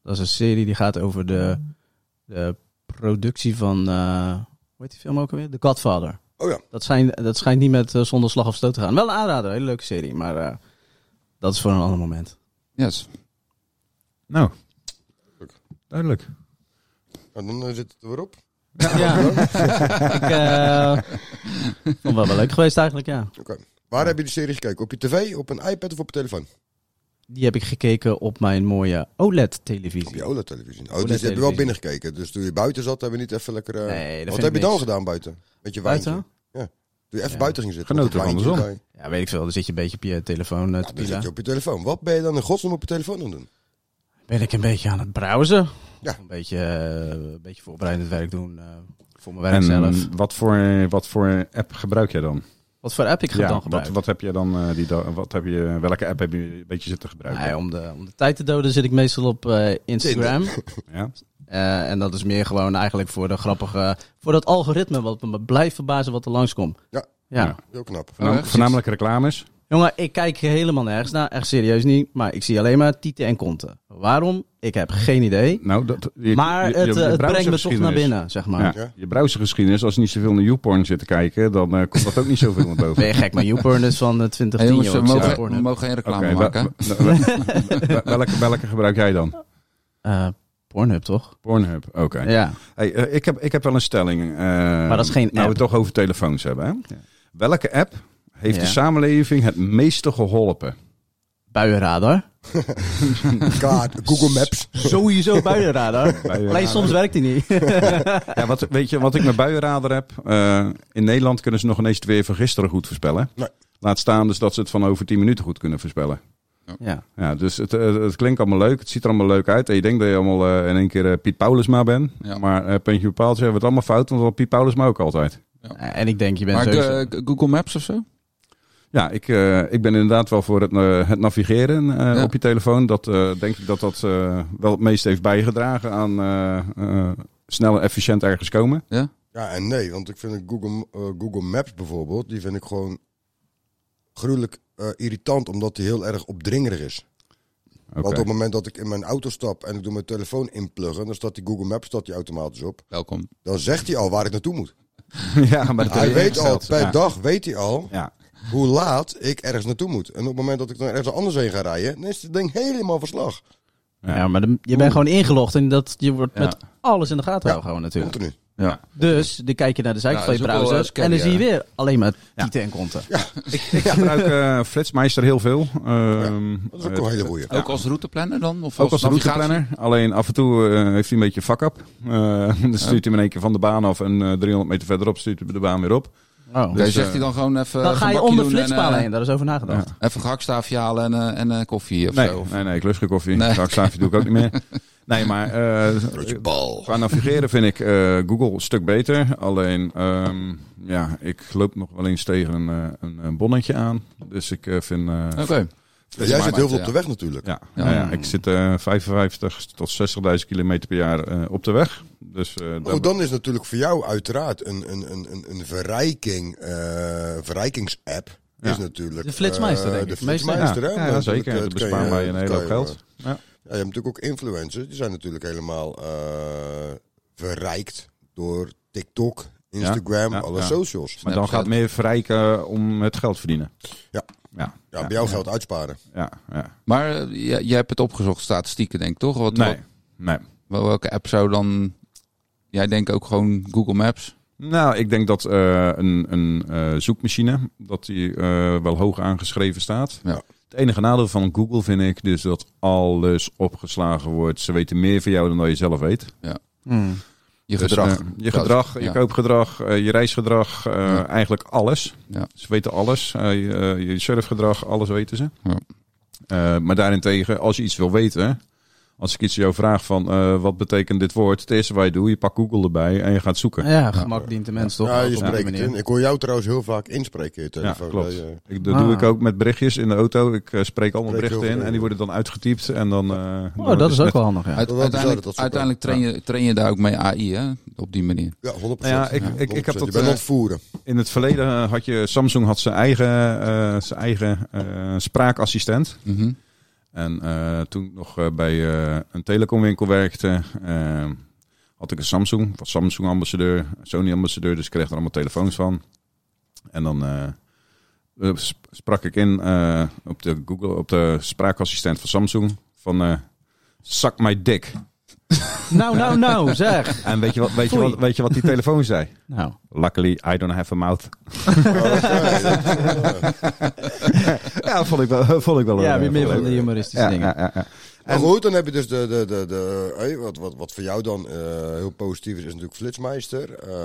D: Dat is een serie die gaat over de, de productie van, eh hoe heet die film ook alweer? The Godfather.
A: Oh ja.
D: Dat, zijn, dat schijnt niet met eh, zonder slag of stoot te gaan. Wel een aanrader, een hele leuke serie, maar eh, dat is voor een ander moment.
B: Yes.
H: Nou, duidelijk.
A: Nou, dan eh, zit het er weer op.
D: Ja, ik eh, vond wel wel leuk geweest eigenlijk, ja.
A: Waar heb je die serie gekeken? Op je tv, op een iPad of op je telefoon?
D: Die heb ik gekeken op mijn mooie E
A: Op
D: OLED-televisie.
A: je OLED-televisie. Oh, dus je hebt
D: OLED-televisie.
A: wel binnengekeken. Dus toen je buiten zat, hebben we niet even lekker... eh,
D: Nee,
A: Wat
D: dat vind
A: heb je
D: ik
A: dan
D: niks.
A: gedaan buiten? Met je wijntje?
D: Buiten?
A: Toen je even
D: Ja.
A: buiten ging zitten.
H: Genoten
A: op een
H: van de
A: pleintje
D: Ja, weet ik veel. Dan zit je een beetje op je telefoon eh,
A: bij-
D: te
A: Ja, dan zit je
D: pielen.
A: op je telefoon. Wat ben je dan in godsnaam op je telefoon aan het doen?
D: Ben ik een beetje aan het browsen.
A: Ja.
D: Een beetje, eh, een beetje voorbereidend werk doen eh, voor mijn werk
H: En ehm,
D: zelf.
H: wat voor, wat voor app gebruik jij dan?
D: Wat voor app ik ga
H: Ja,
D: dan
H: wat,
D: gebruiken?
H: wat heb je dan, eh, die, da- wat heb je, welke app heb je een beetje zitten gebruiken?
D: Nee, om, de, om de tijd te doden zit ik meestal op eh, Instagram.
H: Ja?
D: Eh, en dat is meer gewoon eigenlijk voor de grappige... Voor dat algoritme wat me blijft verbazen wat er langskomt.
A: Ja.
D: ja.
H: Ja.
A: Heel knap.
H: Voornam-
B: precies.
H: voornamelijk reclames.
D: Jongen, ik kijk helemaal nergens naar. Echt serieus niet. Maar ik zie alleen maar tieten en konten. Waarom? Ik heb geen idee.
H: Nou, dat, je-
D: Maar
H: je-
D: het,
H: je
D: eh, het brengt me toch
H: browsergeschiedenis.
D: naar binnen, zeg maar.
H: Ja. Je browsergeschiedenis, als je niet zoveel naar YouPorn zit te kijken, dan eh, komt dat ook niet zoveel naar boven.
D: Ben je gek, maar YouPorn is van eh, 2010,
B: Hey, jongens,
D: joh.
B: we
D: Ik zit op
B: mogen, we
D: Pornhub.
B: mogen geen reclame
H: Oké, wel-
B: maken. hè?
H: wel- wel- wel- welke, welke gebruik jij dan?
D: Eh, Pornhub, toch?
H: Pornhub, oké.
D: Ja.
H: Hey, eh, ik, heb, ik heb wel een stelling. eh,
D: dat is geen
H: Nou, we
D: app.
H: het toch over telefoons hebben. Hè? Welke app heeft
D: Ja.
H: de samenleving het meeste geholpen?
D: Buienradar.
H: Ehm,
A: Kaart, Google Maps.
D: Sowieso buienradar. Alleen soms werkt hij niet.
H: Ja, wat, weet je wat ik met buienradar heb? Eh, in Nederland kunnen ze nog ineens het weer van gisteren goed voorspellen.
A: Nee.
H: Laat staan dus dat ze het van over 10 minuten goed kunnen voorspellen.
D: ja.
H: Ja, dus het, eh, het klinkt allemaal leuk. Het ziet er allemaal leuk uit. En je denkt dat je allemaal eh, in één keer eh, Piet Paulus maar bent.
B: Ja.
H: Maar eh puntje bepaald hebben we het allemaal fout. Want dat had Piet Paulus maar ook altijd.
D: En ik denk, je bent
B: Maar
D: sowieso...
B: eh, Google Maps of zo?
H: Ja, ik, eh, ik ben inderdaad wel voor het, eh, het navigeren eh,
B: Ja.
H: op je telefoon. Dat eh, denk ik dat dat eh, wel het meest heeft bijgedragen aan eh, eh, snel en efficiënt ergens komen.
A: Ja, en nee, want ik vind Google, eh, Google Maps bijvoorbeeld, die vind ik gewoon gruwelijk eh, irritant, omdat die heel erg opdringerig is.
H: Oké.
A: Want op het moment dat ik in mijn auto stap en ik doe mijn telefoon inpluggen, dan staat die Google Maps staat die automatisch op.
B: Welkom.
A: Dan zegt hij al waar ik naartoe moet.
H: ja, maar dat heb
A: hij
H: je
A: weet al,
H: ingesteld.
A: per
H: Ah, ja.
A: dag weet hij al
H: Ja.
A: hoe laat ik ergens naartoe moet. En op het moment dat ik dan ergens anders heen ga rijden, dan is het ding helemaal verslag.
H: Ja.
D: Ja, maar de- je bent gewoon ingelogd en dat, je wordt
B: Ja.
D: met alles in de gaten
A: Ja.
D: gehouden gewoon natuurlijk.
A: Continu.
D: Dus dan kijk je naar de zijkant
B: Ja,
D: van je
B: dat is ook wel,
D: browser
B: eh, scary,
D: en dan zie je
B: hè?
D: weer alleen maar tieten en konten.
H: Ik gebruik eh Flitsmeister heel veel. Ehm,
A: Dat is ook
H: eh,
A: wel een hele goeie.
B: Ook als routeplanner dan? Of
H: Ook als
B: navigatie?
H: routeplanner. Alleen af en toe eh, heeft hij een beetje fuck-up. Eh, dan stuurt hij hem in één keer van de baan af en eh, 300 meter verderop stuurt hij de baan weer op.
D: Oh.
B: Oké,
H: Dus,
B: zegt
H: eh,
B: hij dan gewoon even...
D: Dan ga je
B: gebakje
D: om de
B: doen
D: flitspalen
B: en, eh,
D: heen, daar is over nagedacht.
B: Even gehakstaafje halen en, eh, en eh, koffie of
H: nee,
B: zo. Of-
H: nee, nee, ik lust geen koffie.
B: Nee.
H: Nee. doe ik ook niet meer. Nee, maar eh qua navigeren vind ik eh, Google een stuk beter. Alleen, ehm, ja, ik loop nog wel eens tegen een, eh, een, een bonnetje aan. Dus ik eh, vind... eh,
B: Oké.
A: Ja, jij zit heel veel
B: ja.
A: op de weg natuurlijk.
H: Ja,
B: Ja.
H: nou ja, ik zit eh 55 tot 60.000 kilometer per jaar eh, op de weg. Dus eh, daar-
A: Oh, dan is natuurlijk voor jou uiteraard een, een, een, een, een verrijking, eh, verrijkingsapp.
H: Ja.
A: Is natuurlijk,
D: De flitsmeister,
A: eh,
D: denk ik.
A: De
D: De meeste-
A: flitsmeister,
H: ja,
A: hè?
H: ja,
A: Want
H: zeker.
A: dat-
H: Dat
A: dat kan
H: bespaart
A: je-
H: mij een hele
A: dat
H: hoop
A: kan je-
H: geld. Ja.
A: Ja, je hebt natuurlijk ook influencers, die zijn natuurlijk helemaal eh, verrijkt door TikTok, Instagram,
H: Ja, ja,
A: alle
H: ja.
A: socials.
H: Maar dan
B: Snapchat.
H: gaat het meer verrijken om het geld verdienen.
A: Ja.
H: Ja.
A: Ja, bij jou geld uitsparen.
H: Ja, ja.
B: Maar eh, jij- jij hebt het opgezocht, statistieken denk ik, toch? Wat,
H: Nee. Nee.
B: wat- welke app zou dan... Jij denkt ook gewoon Google Maps?
H: Nou, ik denk dat eh, een, een eh, zoekmachine, dat die eh, wel hoog aangeschreven staat.
B: Ja.
H: Het enige nadeel van Google vind ik dus dat alles opgeslagen wordt. Ze weten meer van jou dan dat je zelf weet.
D: Hmm.
B: Hmm. Je
H: Dus,
B: gedrag.
H: eh, je gedrag, je
B: Ja.
H: koopgedrag, eh, je reisgedrag, eh,
B: Ja.
H: eigenlijk alles.
B: Ja.
H: Ze weten alles. Eh, je, eh, je surfgedrag, alles weten ze.
B: Ja.
H: Eh, maar daarentegen, als je iets wil weten, als ik iets jou vraag van eh, wat betekent dit woord, het eerste wat je doet, je pakt Google erbij en je gaat zoeken.
D: Ja, gemak dient de mens toch?
A: ja,
D: wel
A: je
D: op die
A: spreekt het
D: manier.
A: in. Ik hoor jou trouwens heel vaak inspreken in je telefoon.
H: klopt.
A: Bij, eh,
H: Ik, dat
D: Ah.
H: doe ik ook met berichtjes in de auto. Ik eh, spreek allemaal
A: Spreek heel
H: berichten in
A: veel.
H: en die worden dan uitgetypt. En dan, eh, dan
D: Oh,
H: wordt
D: dat
H: het
D: is ook
H: net-
D: wel handig, ja.
B: Uit-
A: wel bizar
B: uiteindelijk
A: dat dat zo
B: uiteindelijk train, je, train je daar ook mee AI, hè? Op die manier.
A: ja, 100%.
H: Nou ja, ik- ik- ik heb
A: 100%.
H: dat,
A: Je bent
H: eh,
A: ontvoeren.
H: In het verleden eh, had je, Samsung had zijn eigen, eh, zijn eigen eh, spraakassistent.
B: Mhm.
H: En eh, toen ik nog eh, bij eh, een telecomwinkel werkte, eh, had ik een Samsung. Ik was Samsung-ambassadeur, Sony-ambassadeur, dus ik kreeg er allemaal telefoons van. En dan eh, eh, sp- sprak ik in eh, op, de Google, op de spraakassistent van Samsung van... eh Zak mijn dik.
D: Nou, nou, nou, zeg.
H: En weet je, wat, weet, je
D: Foei.
H: wat, weet je wat die telefoon zei?
D: Nou,
H: Luckily, I don't have a mouth.
A: Ja,
H: Ja, vond ik wel, vond ik wel
D: ja, weer
H: een-
D: meer van
H: vond
D: de
H: ik-
D: humoristische
H: ja,
D: dingen.
H: ja, ja, ja.
A: Maar goed, dan heb je dus de, de, de, de hey, wat, wat, wat voor jou dan eh, heel positief is, is natuurlijk Flitsmeister. eh,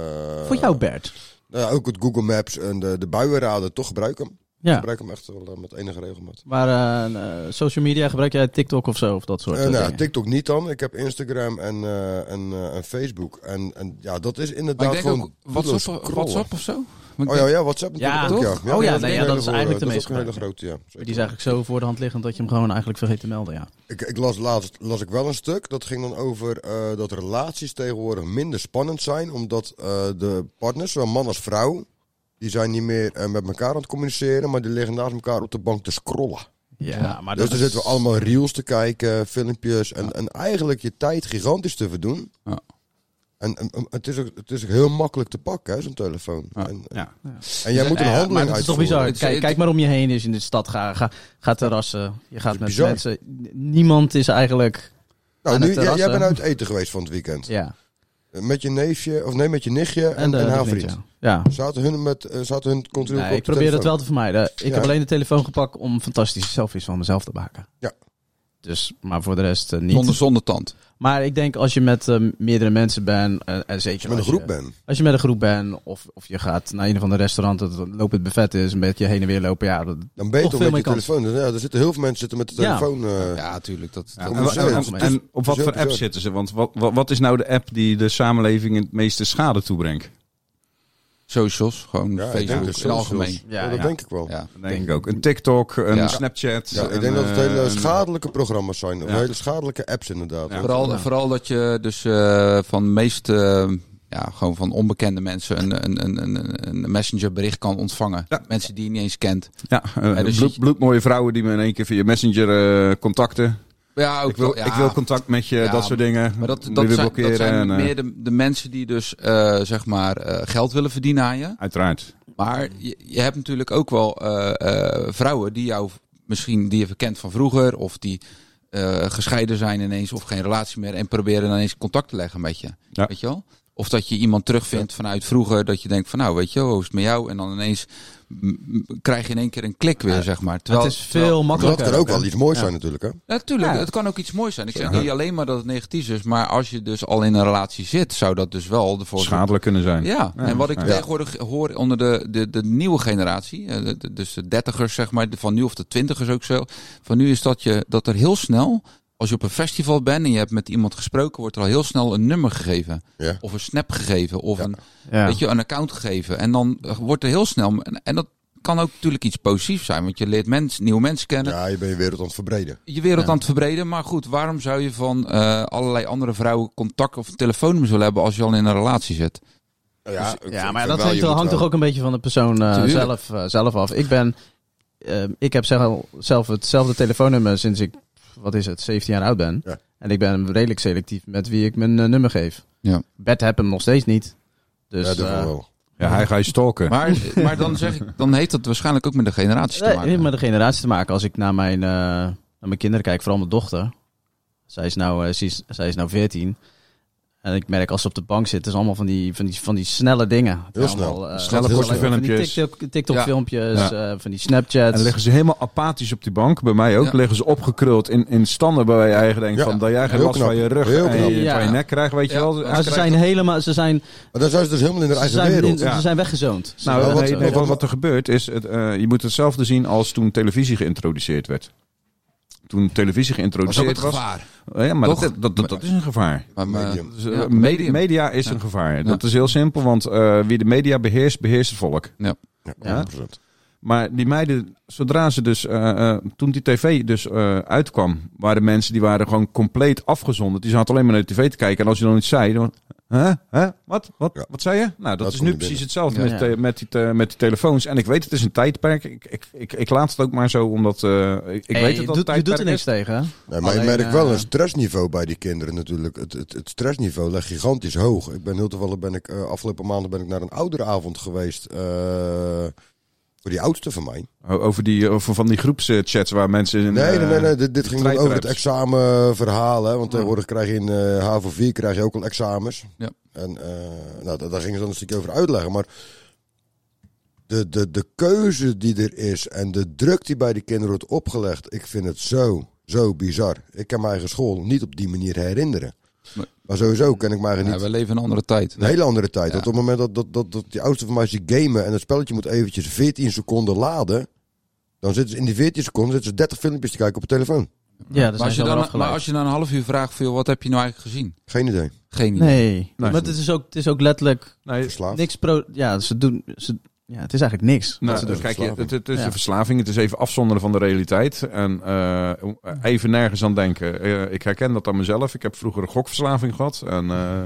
D: Voor jou, Bert.
A: Nou ja, ook het Google Maps en de, de buienraden, toch gebruik hem.
D: Ja.
A: Gebruik hem echt wel eh, met enige regelmaat.
D: Maar eh, eh, social media, gebruik jij TikTok of zo? Of dat soort
A: Eh,
D: eh,
A: nou, ja,
D: dingen?
A: TikTok niet dan. Ik heb Instagram en, eh, en, eh, en Facebook. En, en ja, dat is
B: Maar ik
A: inderdaad
B: denk
A: gewoon
B: ook WhatsApp,
A: doelloos
B: WhatsApp of zo?
A: scrollen.
B: Want
A: Oh ja, ja WhatsApp
D: Ja,
A: natuurlijk ook,
B: toch?
A: ja.
D: Oh ja,
A: dat
D: nee,
A: een
D: ja, dat
A: hele
D: is
A: voor-
D: eigenlijk de
A: dat
D: meest
A: ook een hele
D: gebruikte.
A: grote, ja.
D: Die
A: zeker.
D: is eigenlijk zo voor de hand liggend dat je hem gewoon eigenlijk vergeet te melden, ja.
A: Ik, ik las laatst las ik wel een stuk. Dat ging dan over eh, dat relaties tegenwoordig minder spannend zijn. Omdat eh, de partners, zowel man als vrouw, die zijn niet meer eh, met elkaar aan het communiceren. Maar die liggen naast elkaar op de bank te scrollen.
D: Ja, maar
A: dus
D: Ah, dat
A: dan
D: is-
A: zitten we allemaal reels te kijken, filmpjes. En, en eigenlijk je tijd gigantisch te verdoen.
B: Ja.
A: En, en- en het, is ook, het is ook heel makkelijk te pakken, hè, zo'n telefoon.
B: Ja.
A: En,
H: Ja.
A: en jij moet een
D: Ja,
A: handeling
D: maar dat is toch
A: uitvoeren.
D: bizar.
B: Het is-
D: Kijk,
B: het-
D: kijk maar om je heen is in de stad. Ga, ga, ga terrassen. Je gaat
A: is
D: met
A: bizar.
D: mensen. N- Niemand is eigenlijk...
A: Nou,
D: Aan
A: nu,
D: het
A: jij, jij
D: terras,
A: bent
D: hè?
A: uit eten geweest van het weekend.
D: Ja. eh,
A: Met je neefje, of nee, met je nichtje en, en,
D: de- de
A: haar
D: vriend,
A: vriend.
D: Ja. Ja.
A: Zaten hun, met, eh, zaten hun continu
D: Nee,
A: op
D: ik
A: de
D: probeer dat
A: telefoon?
D: wel te vermijden. Ik
A: Ja.
D: heb alleen de telefoon gepakt om fantastische selfies van mezelf te maken.
A: Ja.
D: Dus, maar voor de rest eh, niet.
B: Zonder zonder tand.
D: Maar ik denk als je met eh, meerdere mensen bent, eh, en, en zeker
A: Als je met een
D: als
A: groep
D: je-
A: bent.
D: Als je met een groep bent, of, of je gaat naar een of ander restaurant, dat het lopend buffet is, een beetje heen en weer lopen. Ja, dat,
A: Dan ben je
D: Nog
A: toch
D: veel
A: met je
D: meer kans.
A: telefoon. Ja, er zitten heel veel mensen zitten met de
D: Ja.
A: telefoon. eh,
B: Ja, tuurlijk. Dat,
H: Ja,
A: Dat
H: en,
A: is
H: en-
A: heel
H: en- en op wat
A: heel
H: voor app
A: bizar.
H: zitten ze? Want wat, wat, wat is nou de app die de samenleving het meeste schade toebrengt?
B: Socials, gewoon
A: ja, ik denk
B: Facebook in
A: dat
B: het
A: socials.
B: algemeen.
A: Ja,
D: Ja,
A: dat
D: ja.
A: denk ik wel. Ja.
B: Ja.
H: Dat Denk ik ook. Een TikTok, een
B: Ja.
H: Snapchat. eh,
A: ik denk dat
D: eh,
A: het hele schadelijke programma's zijn. Of
H: Ja.
A: hele schadelijke apps inderdaad.
H: Ja.
A: Ja.
B: Vooral,
D: Ja.
B: vooral dat je dus eh, van de meeste, eh, ja, gewoon van onbekende mensen een, een, een, een, een messengerbericht kan ontvangen.
H: Ja.
B: Mensen die je niet eens kent.
H: Ja, eh,
B: Ja, dus
H: bloed-
B: je-
H: bloedmooie vrouwen die me in één keer via Messenger eh, contacten.
B: Ja, ook
H: Ik wil,
B: wel, ja.
H: ik wil contact met je,
B: Ja,
H: dat soort dingen.
B: Maar dat,
H: Die
B: dat,
H: weer
B: zijn, dat
H: blokkeren
B: zijn
H: en, eh,
B: meer de, de mensen die dus eh, zeg maar eh, geld willen verdienen aan je.
H: Uiteraard.
B: Maar je, je hebt natuurlijk ook wel eh, eh, vrouwen die jou misschien die je verkent van vroeger. Of die eh, gescheiden zijn ineens of geen relatie meer. En proberen ineens contact te leggen met je.
H: Ja.
B: Weet je wel? Of dat je iemand terugvindt vanuit vroeger. Dat je denkt van nou weet je wel, hoe is het met jou? En dan ineens m, m, krijg je in één keer een klik weer zeg maar. Terwijl,
D: het is veel
B: terwijl-
A: Dat
D: makkelijker.
A: kan ook wel iets moois
D: Ja.
A: zijn natuurlijk. Hè?
B: Natuurlijk,
D: Ja.
B: het kan ook iets moois zijn. Ik zeg niet alleen maar dat het negatief is, maar als je dus al in een relatie zit, zou dat dus wel ervoor
H: Schadelijk kunnen zijn.
B: Ja, en wat ik
H: ja.
B: tegenwoordig hoor onder de, de, de nieuwe generatie, eh, de- de- dus de dertigers zeg maar, de- van nu of de twintigers ook zo, van nu is dat, je, dat er heel snel, als je op een festival bent en je hebt met iemand gesproken, wordt er al heel snel een nummer gegeven.
A: Ja.
B: Of een snap gegeven, of
A: Ja.
B: een,
D: Ja.
B: weet je, een account gegeven. En dan eh, wordt er heel snel, en, en dat kan ook natuurlijk iets positiefs zijn, want je leert mensen nieuwe mensen kennen
A: Ja, je bent je wereld aan het verbreden.
B: je wereld aan het verbreden. Maar goed, waarom zou je van eh, allerlei andere vrouwen contact of telefoonnummer willen hebben als je al in een relatie zit?
A: Ja,
D: Ja, maar dat hangt, hangt toch ook een beetje van de persoon eh,
B: Tuurlijk.
D: zelf, eh, zelf af. Ik ben, eh, ik heb zelf, zelf hetzelfde telefoonnummer sinds ik, wat is het, 17 jaar oud ben.
A: Ja.
D: En ik ben redelijk selectief met wie ik mijn eh, nummer geef.
B: Ja.
D: Bert heb hem nog steeds niet. Dus,
A: Ja, dat
D: eh,
A: wel.
H: Ja, hij gaat je stalken.
B: Maar, maar dan zeg ik, dan heeft dat waarschijnlijk ook met de generaties te
D: nee,
B: maken.
D: heeft met Eh, de generatie te maken. Als ik naar mijn, eh, naar mijn kinderen kijk, vooral mijn dochter. Zij is, nou, eh, ze is, zij is nou 14. En ik merk als ze op de bank zit, is allemaal van die, van die, van die snelle dingen.
A: Heel snel.
D: Allemaal, eh,
H: Snelle
D: van die-
H: korte
D: van die
H: filmpjes.
D: TikTok- TikTok-filmpjes,
H: Ja.
D: eh, van die Snapchats.
H: En leggen ze helemaal apathisch op die bank, bij mij ook.
B: Ja.
H: Leggen ze opgekruld in, in standen waar je eigenlijk denkt
A: Ja.
H: van, dat jij geen
A: Heel
H: last
A: knap.
H: van je rug
A: Heel
H: en
A: knap.
H: je,
D: Ja.
H: van je nek krijgt, weet je
B: Ja.
H: wel.
B: Maar
D: maar ze zijn helemaal, ze zijn,
A: Maar dan zijn ze dus helemaal in hun
D: ze
A: eigen
D: zijn,
A: wereld.
H: Ja.
D: ze zijn weggezoond. Ze
H: Nou,
D: zijn
A: Ja,
H: nee,
A: wat,
H: nee,
A: eh,
H: want wat er gebeurt is, het, eh, je moet hetzelfde zien als toen televisie geïntroduceerd werd. Toen televisie
B: Dat is ook
H: geïntroduceerd
B: het
H: was.
B: gevaar.
H: Ja, maar dat,
B: Toch?
H: dat, dat, dat is een gevaar.
B: Maar, maar-
A: Medium.
H: Dus, eh,
B: Ja,
H: me-
B: medium.
H: Media is
B: Ja.
H: een gevaar. Dat is heel simpel, want eh, wie de media beheerst, beheerst het volk.
D: Ja.
A: Ja.
H: Maar die meiden, zodra ze dus, eh, eh, toen die tv dus eh, uitkwam, waren mensen die waren gewoon compleet afgezonderd. Die zaten alleen maar naar de tv te kijken. En als je dan iets zei, dan, hè, hè, wat, wat,
A: Ja.
H: wat zei je? Nou, dat,
A: Dat
H: is
A: komt
H: nu
A: niet
H: precies hetzelfde
D: Ja.
H: met, eh, met, die, te- met die telefoons. En ik weet, het is een tijdperk. Ik, ik, ik, ik laat het ook maar zo, omdat eh, ik, ik
D: Hey,
H: weet
D: je
H: het dat
D: doet-
H: het
D: Je doet
H: tijdperk
D: er niks
H: is.
D: tegen, hè?
A: Nee, maar
D: Alleen,
A: je merkt wel
D: eh,
A: een stressniveau bij die kinderen natuurlijk. Het, het, het stressniveau ligt gigantisch hoog. Ik ben heel toevallig, ben ik, eh, afgelopen maanden ben ik naar een ouderavond geweest. eh, voor die oudste van mij.
H: O- Over, die, over van die groepschats waar mensen... In,
A: Nee, nee,
H: eh,
A: nee, nee, Dit, dit ging dan over het
H: treiterapps.
A: examenverhaal. Hè? Want tegenwoordig krijg je in eh, HAVO 4 krijg je ook al examens.
B: Ja.
A: En eh, nou, daar, daar gingen ze dan een stukje over uitleggen. Maar de, de, de keuze die er is en de druk die bij de kinderen wordt opgelegd. Ik vind het zo, zo bizar. Ik kan mijn eigen school niet op die manier herinneren.
B: Nee.
A: Maar sowieso ken ik mij eigen
B: ja,
A: niet
B: we leven in een andere tijd.
A: een hele andere tijd.
B: Ja.
A: Want op het moment dat, dat, dat, dat die oudste van mij zit gamen en het spelletje moet eventjes 14 seconden laden. Dan zitten ze in die 14 seconden zitten ze 30 filmpjes te kijken op de telefoon.
D: Ja, dat
B: maar, als
D: zijn
B: je
D: ze
B: dan,
D: dan
B: maar als je dan een half uur vraagt, veel, wat heb je nou eigenlijk gezien?
A: Geen idee.
B: Geen idee.
D: Nee,
H: Nee.
D: maar het is, ook, het is ook letterlijk
H: Nee,
A: Verslaafd.
D: niks pro... Ja, ze doen... Ze, Ja, het is eigenlijk niks.
H: Nou,
A: ze
H: dus
A: doen.
H: kijk, je, het, het is
D: Ja.
H: een verslaving. Het is even afzonderen van de realiteit. En eh, even nergens aan denken. Eh, ik herken dat aan mezelf. Ik heb vroeger een gokverslaving gehad. En eh,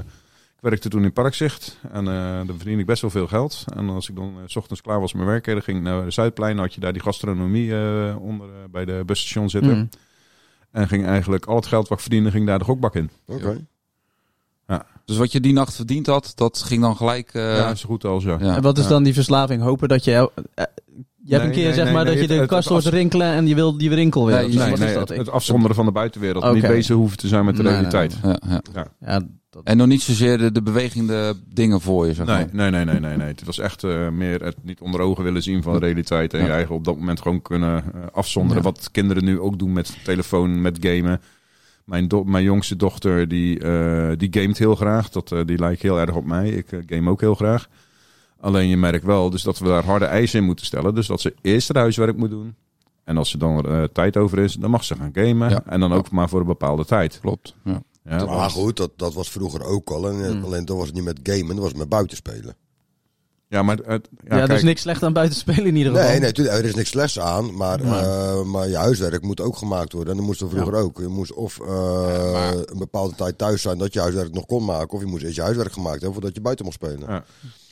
H: ik werkte toen in Parkzicht. En eh dan verdiende ik best wel veel geld. En als ik dan eh, s ochtends klaar was met werken, dan ging ik naar de Zuidplein. Dan had je daar die gastronomie eh, onder eh, bij de busstation zitten.
D: Mm.
H: En ging eigenlijk al het geld wat ik verdiende, ging daar de gokbak in.
A: Oké.
B: Dus wat je die nacht verdiend had, dat ging dan gelijk... eh,
H: ja, zo goed als ja.
B: ja.
D: En wat is
H: Ja.
D: dan die verslaving? Hopen dat je... el- eh, je hebt
H: Nee,
D: een keer
H: nee,
D: zeg
H: nee,
D: maar
H: nee,
D: dat
H: het-
D: je de
H: het-
D: kast
H: het
D: hoort
H: af-
D: rinkelen en je wil die winkel weer.
B: Nee,
D: of zo.
H: Nee,
D: Wat
H: nee,
D: is dat?
H: het,
D: Ik-
H: het afzonderen van de buitenwereld.
D: Oké.
H: Niet bezig hoeven te zijn met de
D: Nee, nee,
H: realiteit.
B: Ja, ja.
D: Ja,
B: En nog niet zozeer de, de bewegende dingen voor je, zeg maar.
H: Nee, nee, nee, nee, nee, nee. Het was echt eh, meer het niet onder ogen willen zien van de realiteit. En je
B: Ja.
H: eigen op dat moment gewoon kunnen eh, afzonderen.
D: Ja.
H: Wat kinderen nu ook doen met telefoon, met gamen. Mijn, do- mijn jongste dochter, die, eh, die gamet heel graag. Dat, eh, die lijkt heel erg op mij. Ik eh, game ook heel graag. Alleen je merkt wel dus dat we daar harde eisen in moeten stellen. Dus dat ze eerst haar huiswerk moet doen. En als ze dan eh, tijd over is, dan mag ze gaan gamen.
B: Ja.
H: En dan ook maar voor een bepaalde tijd.
B: Klopt. Ja.
H: Ja,
A: Maar goed, dat, dat was vroeger ook al. En, eh,
D: Hmm.
A: Alleen dan was het niet met gamen, dan was het met buitenspelen.
H: ja maar het,
D: ja, dus
H: ja,
D: er is
H: kijk,
D: niks slecht aan buitenspelen in ieder geval.
A: Nee, nee, tuurlijk, er is niks slechts aan. Maar,
D: Maar-
A: eh, maar je huiswerk moet ook gemaakt worden. En dat moest er vroeger ook. Je moest of eh, een bepaalde tijd thuis zijn dat je huiswerk nog kon maken. Of je moest eerst je huiswerk gemaakt hebben voordat je buiten mocht spelen.
H: Ja.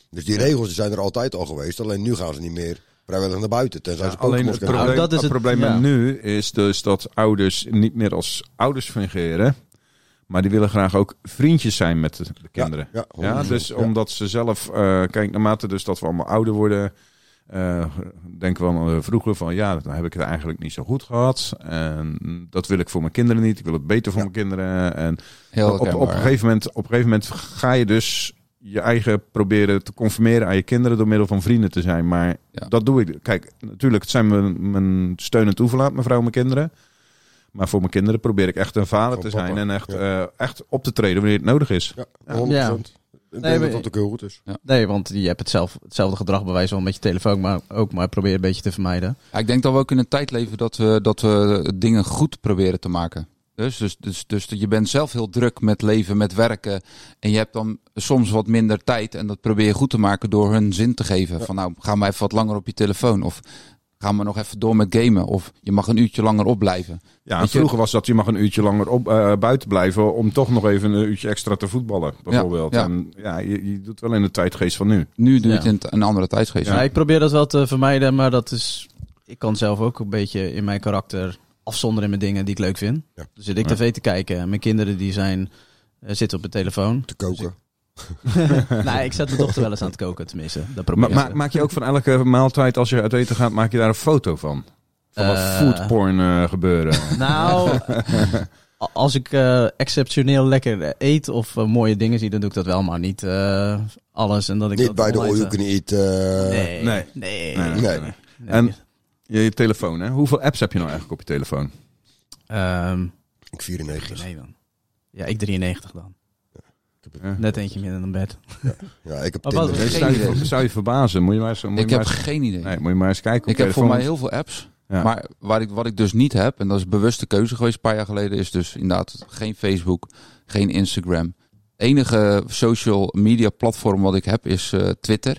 A: Dus die regels die zijn er altijd al geweest. Alleen nu gaan ze niet meer vrijwillig naar buiten. Tenzij
H: Ja,
A: ze
H: alleen
A: Pokémon
H: het
A: kennen.
H: probleem,
D: Nou, dat is
H: het
D: het-
H: probleem
D: ja.
H: nu is dus dat ouders niet meer als ouders fungeren. Maar die willen graag ook vriendjes zijn met de, de kinderen.
A: Ja,
H: Ja, dus omdat ze zelf, eh, kijk, naarmate dus dat we allemaal ouder worden, eh, denken we allemaal eh, vroeger van ja, dan heb ik het eigenlijk niet zo goed gehad. En dat wil ik voor mijn kinderen niet. Ik wil het beter voor mijn kinderen. En
B: Heel
H: op, op,
B: herkenbaar,
H: een
B: hè?
H: gegeven moment, op een gegeven moment ga je dus je eigen proberen te conformeren aan je kinderen door middel van vrienden te zijn. Maar
B: Ja.
H: dat doe ik. Kijk, natuurlijk, het zijn mijn, mijn steun en toeverlaat, mijn vrouw en mijn kinderen. Maar voor mijn kinderen probeer ik echt een vader
A: Gewoon
H: te
A: papa.
H: zijn en echt,
A: Ja.
H: eh, echt op te treden wanneer het nodig is.
A: Ja, 100%.
D: Ja.
A: Ik
D: Nee,
A: denk
D: maar-
A: dat dat ook heel goed
H: Dus
A: is.
D: Nee, want je hebt het zelf, hetzelfde gedrag bewijs wel met je telefoon, maar ook maar probeer een beetje te vermijden.
B: Ja, ik denk dat we ook in een tijd leven dat we, dat we dingen goed proberen te maken. Dus, dus, dus, dus je bent zelf heel druk met leven, met werken. En je hebt dan soms wat minder tijd. En dat probeer je goed te maken door hun zin te geven. Van nou, ga maar even wat langer op je telefoon. Of ga maar nog even door met gamen. Of je mag een uurtje langer opblijven.
H: Ja, en
B: Weet je-
H: vroeger was dat je mag een uurtje langer op, eh, buiten blijven om toch nog even een uurtje extra te voetballen, bijvoorbeeld.
B: ja.
H: En ja, je, je doet wel in de tijdgeest van nu.
B: Nu doe je
D: Ja.
B: het in t- een andere tijdsgeest.
D: Ja. ik probeer dat wel te vermijden, maar dat is. Ik kan zelf ook een beetje in mijn karakter afzonderen met dingen die ik leuk vind.
A: Ja.
D: Dus zit ik
H: Ja.
D: tv te kijken en mijn kinderen die zijn, eh, zitten op de telefoon.
A: Te koken.
D: nee, ik zet mijn dochter wel eens aan het koken, tenminste. Dat probeer
H: Ma-
D: ik.
H: ma-
D: te-
H: maak je ook van elke maaltijd als je uit eten gaat, maak je daar een foto van? Van wat
D: Eh.
H: foodporn eh, gebeuren.
D: Nou, a- als ik eh, exceptioneel lekker eet of eh, mooie dingen zie, dan doe ik dat wel, maar niet eh, alles. En dat ik
A: Niet
D: dat
A: bij de
D: online,
A: all you
D: eh,
A: can eat. eh,
D: Nee,
H: Nee.
D: nee, nee.
H: Nee, nee,
A: Nee.
H: nee. En- Je, je telefoon, hè? Hoeveel apps heb je nou eigenlijk op je telefoon?
D: Ehm,
A: Ik 94.
D: nee dan. Ja, ik 93 dan.
H: Ja.
D: Net eentje minder dan bed.
A: Ja, ik heb
D: Maar wat-
A: Tinder.
H: Nee,
B: Geen
H: zou,
B: idee.
H: je, zou je verbazen? Moet je maar eens, moet je
B: Ik
H: maar
B: heb
H: eens,
B: geen idee.
H: nee, moet je maar eens kijken. op
B: Ik heb voor
H: telefoon.
B: mij heel veel apps.
H: Ja.
B: Maar waar ik, wat ik dus niet heb, en dat is een bewuste keuze geweest een paar jaar geleden, is dus inderdaad geen Facebook, geen Instagram. Het enige social media platform wat ik heb is eh, Twitter.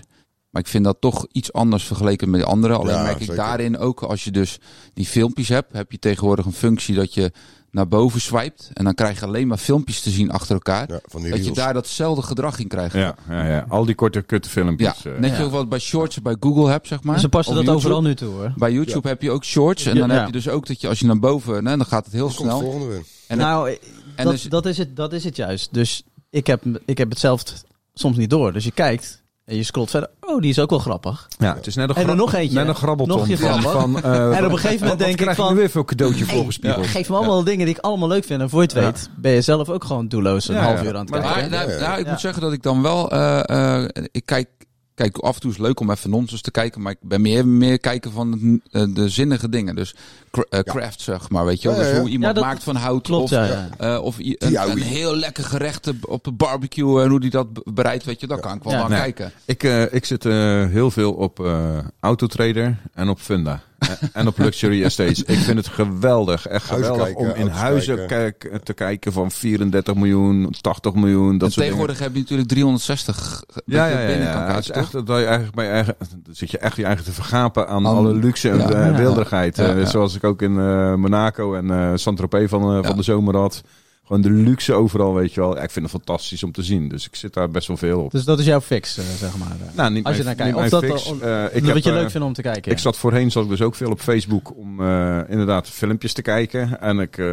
B: Maar ik vind dat toch iets anders vergeleken met de anderen. Alleen
A: Ja,
B: merk ik
A: zeker.
B: daarin ook, als je dus die filmpjes hebt, heb je tegenwoordig een functie dat je naar boven swipt. En dan krijg je alleen maar filmpjes te zien achter elkaar.
A: Ja, van die
B: dat je
A: reels.
B: daar datzelfde gedrag in krijgt.
H: ja, ja, ja, al die korte kutte
B: Ja,
H: filmpjes. eh.
B: net zoals wat bij Shorts bij Google hebt, zeg maar.
D: Ze Dus passen
B: Of
D: dat
B: YouTube.
D: overal nu toe hoor.
B: Bij YouTube heb je ook shorts. En dan
D: Ja.
B: heb je dus ook dat je als je naar boven. Nee, dan gaat het heel
A: Komt de
B: snel.
A: volgende weer.
B: En
D: nou, eh,
B: en
D: dat,
B: dus-
D: dat, is het, dat is het juist. Dus ik heb, ik heb het zelf t- soms niet door. Dus je kijkt en je scrolt verder. Oh, die is ook wel grappig.
H: ja, het is net een,
D: En er
H: grap-
D: nog eentje.
H: Net een grabbelton.
D: Nog je
H: van-
D: grabbel.
H: van, eh,
D: en op een gegeven
H: wat
D: moment denk ik
H: krijg je nu
D: van...
H: weer voor cadeautje
D: hey,
H: voorgespiegeld?
D: geef me allemaal dingen die ik allemaal leuk vind. En voor je het
H: Ja.
D: weet ben je zelf ook gewoon doelloos een
H: Ja,
D: half
H: ja.
D: uur aan het
H: Maar-
D: kijken.
B: Maar, nou,
A: Ja, ja.
B: nou, ik
D: Ja.
B: moet zeggen dat ik dan wel. eh, eh, ik kijk, kijk, af en toe is het leuk om even nonsens te kijken. Maar ik ben meer, meer kijken van eh, de zinnige dingen. Dus cra- eh, craft, zeg maar. Weet je wel.
A: Ja, ja,
B: Dus
A: ja.
B: hoe iemand
D: Ja, dat-
B: maakt van hout.
D: Klopt,
B: of
D: ja, ja.
B: eh, of i- een,
A: Kiawi.
B: een heel lekker gerecht op- op de barbecue. En hoe die dat be- bereidt. Weet je, daar kan ik wel
D: Ja.
B: aan
H: Nee.
B: kijken.
H: Ik, eh, ik zit eh, heel veel op eh Autotrader en op Funda. en op Luxury Estates. Ik vind het geweldig. Echt geweldig
A: Huiskijken,
H: om in huizen kijk- eh, te kijken van 34 miljoen, 80 miljoen, dat
B: en
H: soort dingen.
B: tegenwoordig heb je natuurlijk 360 dat
H: Ja,
B: je
H: ja, ja,
B: binnen
H: ja.
B: kan
H: Het is
B: kijken,
H: echt
B: toch?
H: dat je eigenlijk bij je eigen, dan zit je echt je eigen te vergapen aan
B: Aan-
H: alle luxe en
B: ja.
H: eh,
B: Ja.
H: weelderigheid.
B: Ja,
H: Eh,
B: ja.
H: Zoals ik ook in eh, Monaco en eh Saint-Tropez van, eh,
B: Ja.
H: van de zomer had. Gewoon de luxe overal, weet je wel. Ja, ik vind het fantastisch om te zien. Dus ik zit daar best wel veel op.
D: Dus dat is jouw fix, eh, zeg maar.
H: nou, niet
D: als je
H: mijn-
D: naar kijkt,
H: niet
D: of
H: mijn
D: dat
H: fix.
D: al-
H: Eh, ik
D: wat
H: heb,
D: je
H: eh,
D: leuk vindt om te kijken.
H: Ik zat voorheen, zat ik dus ook veel op Facebook om eh, inderdaad filmpjes te kijken. En ik, eh,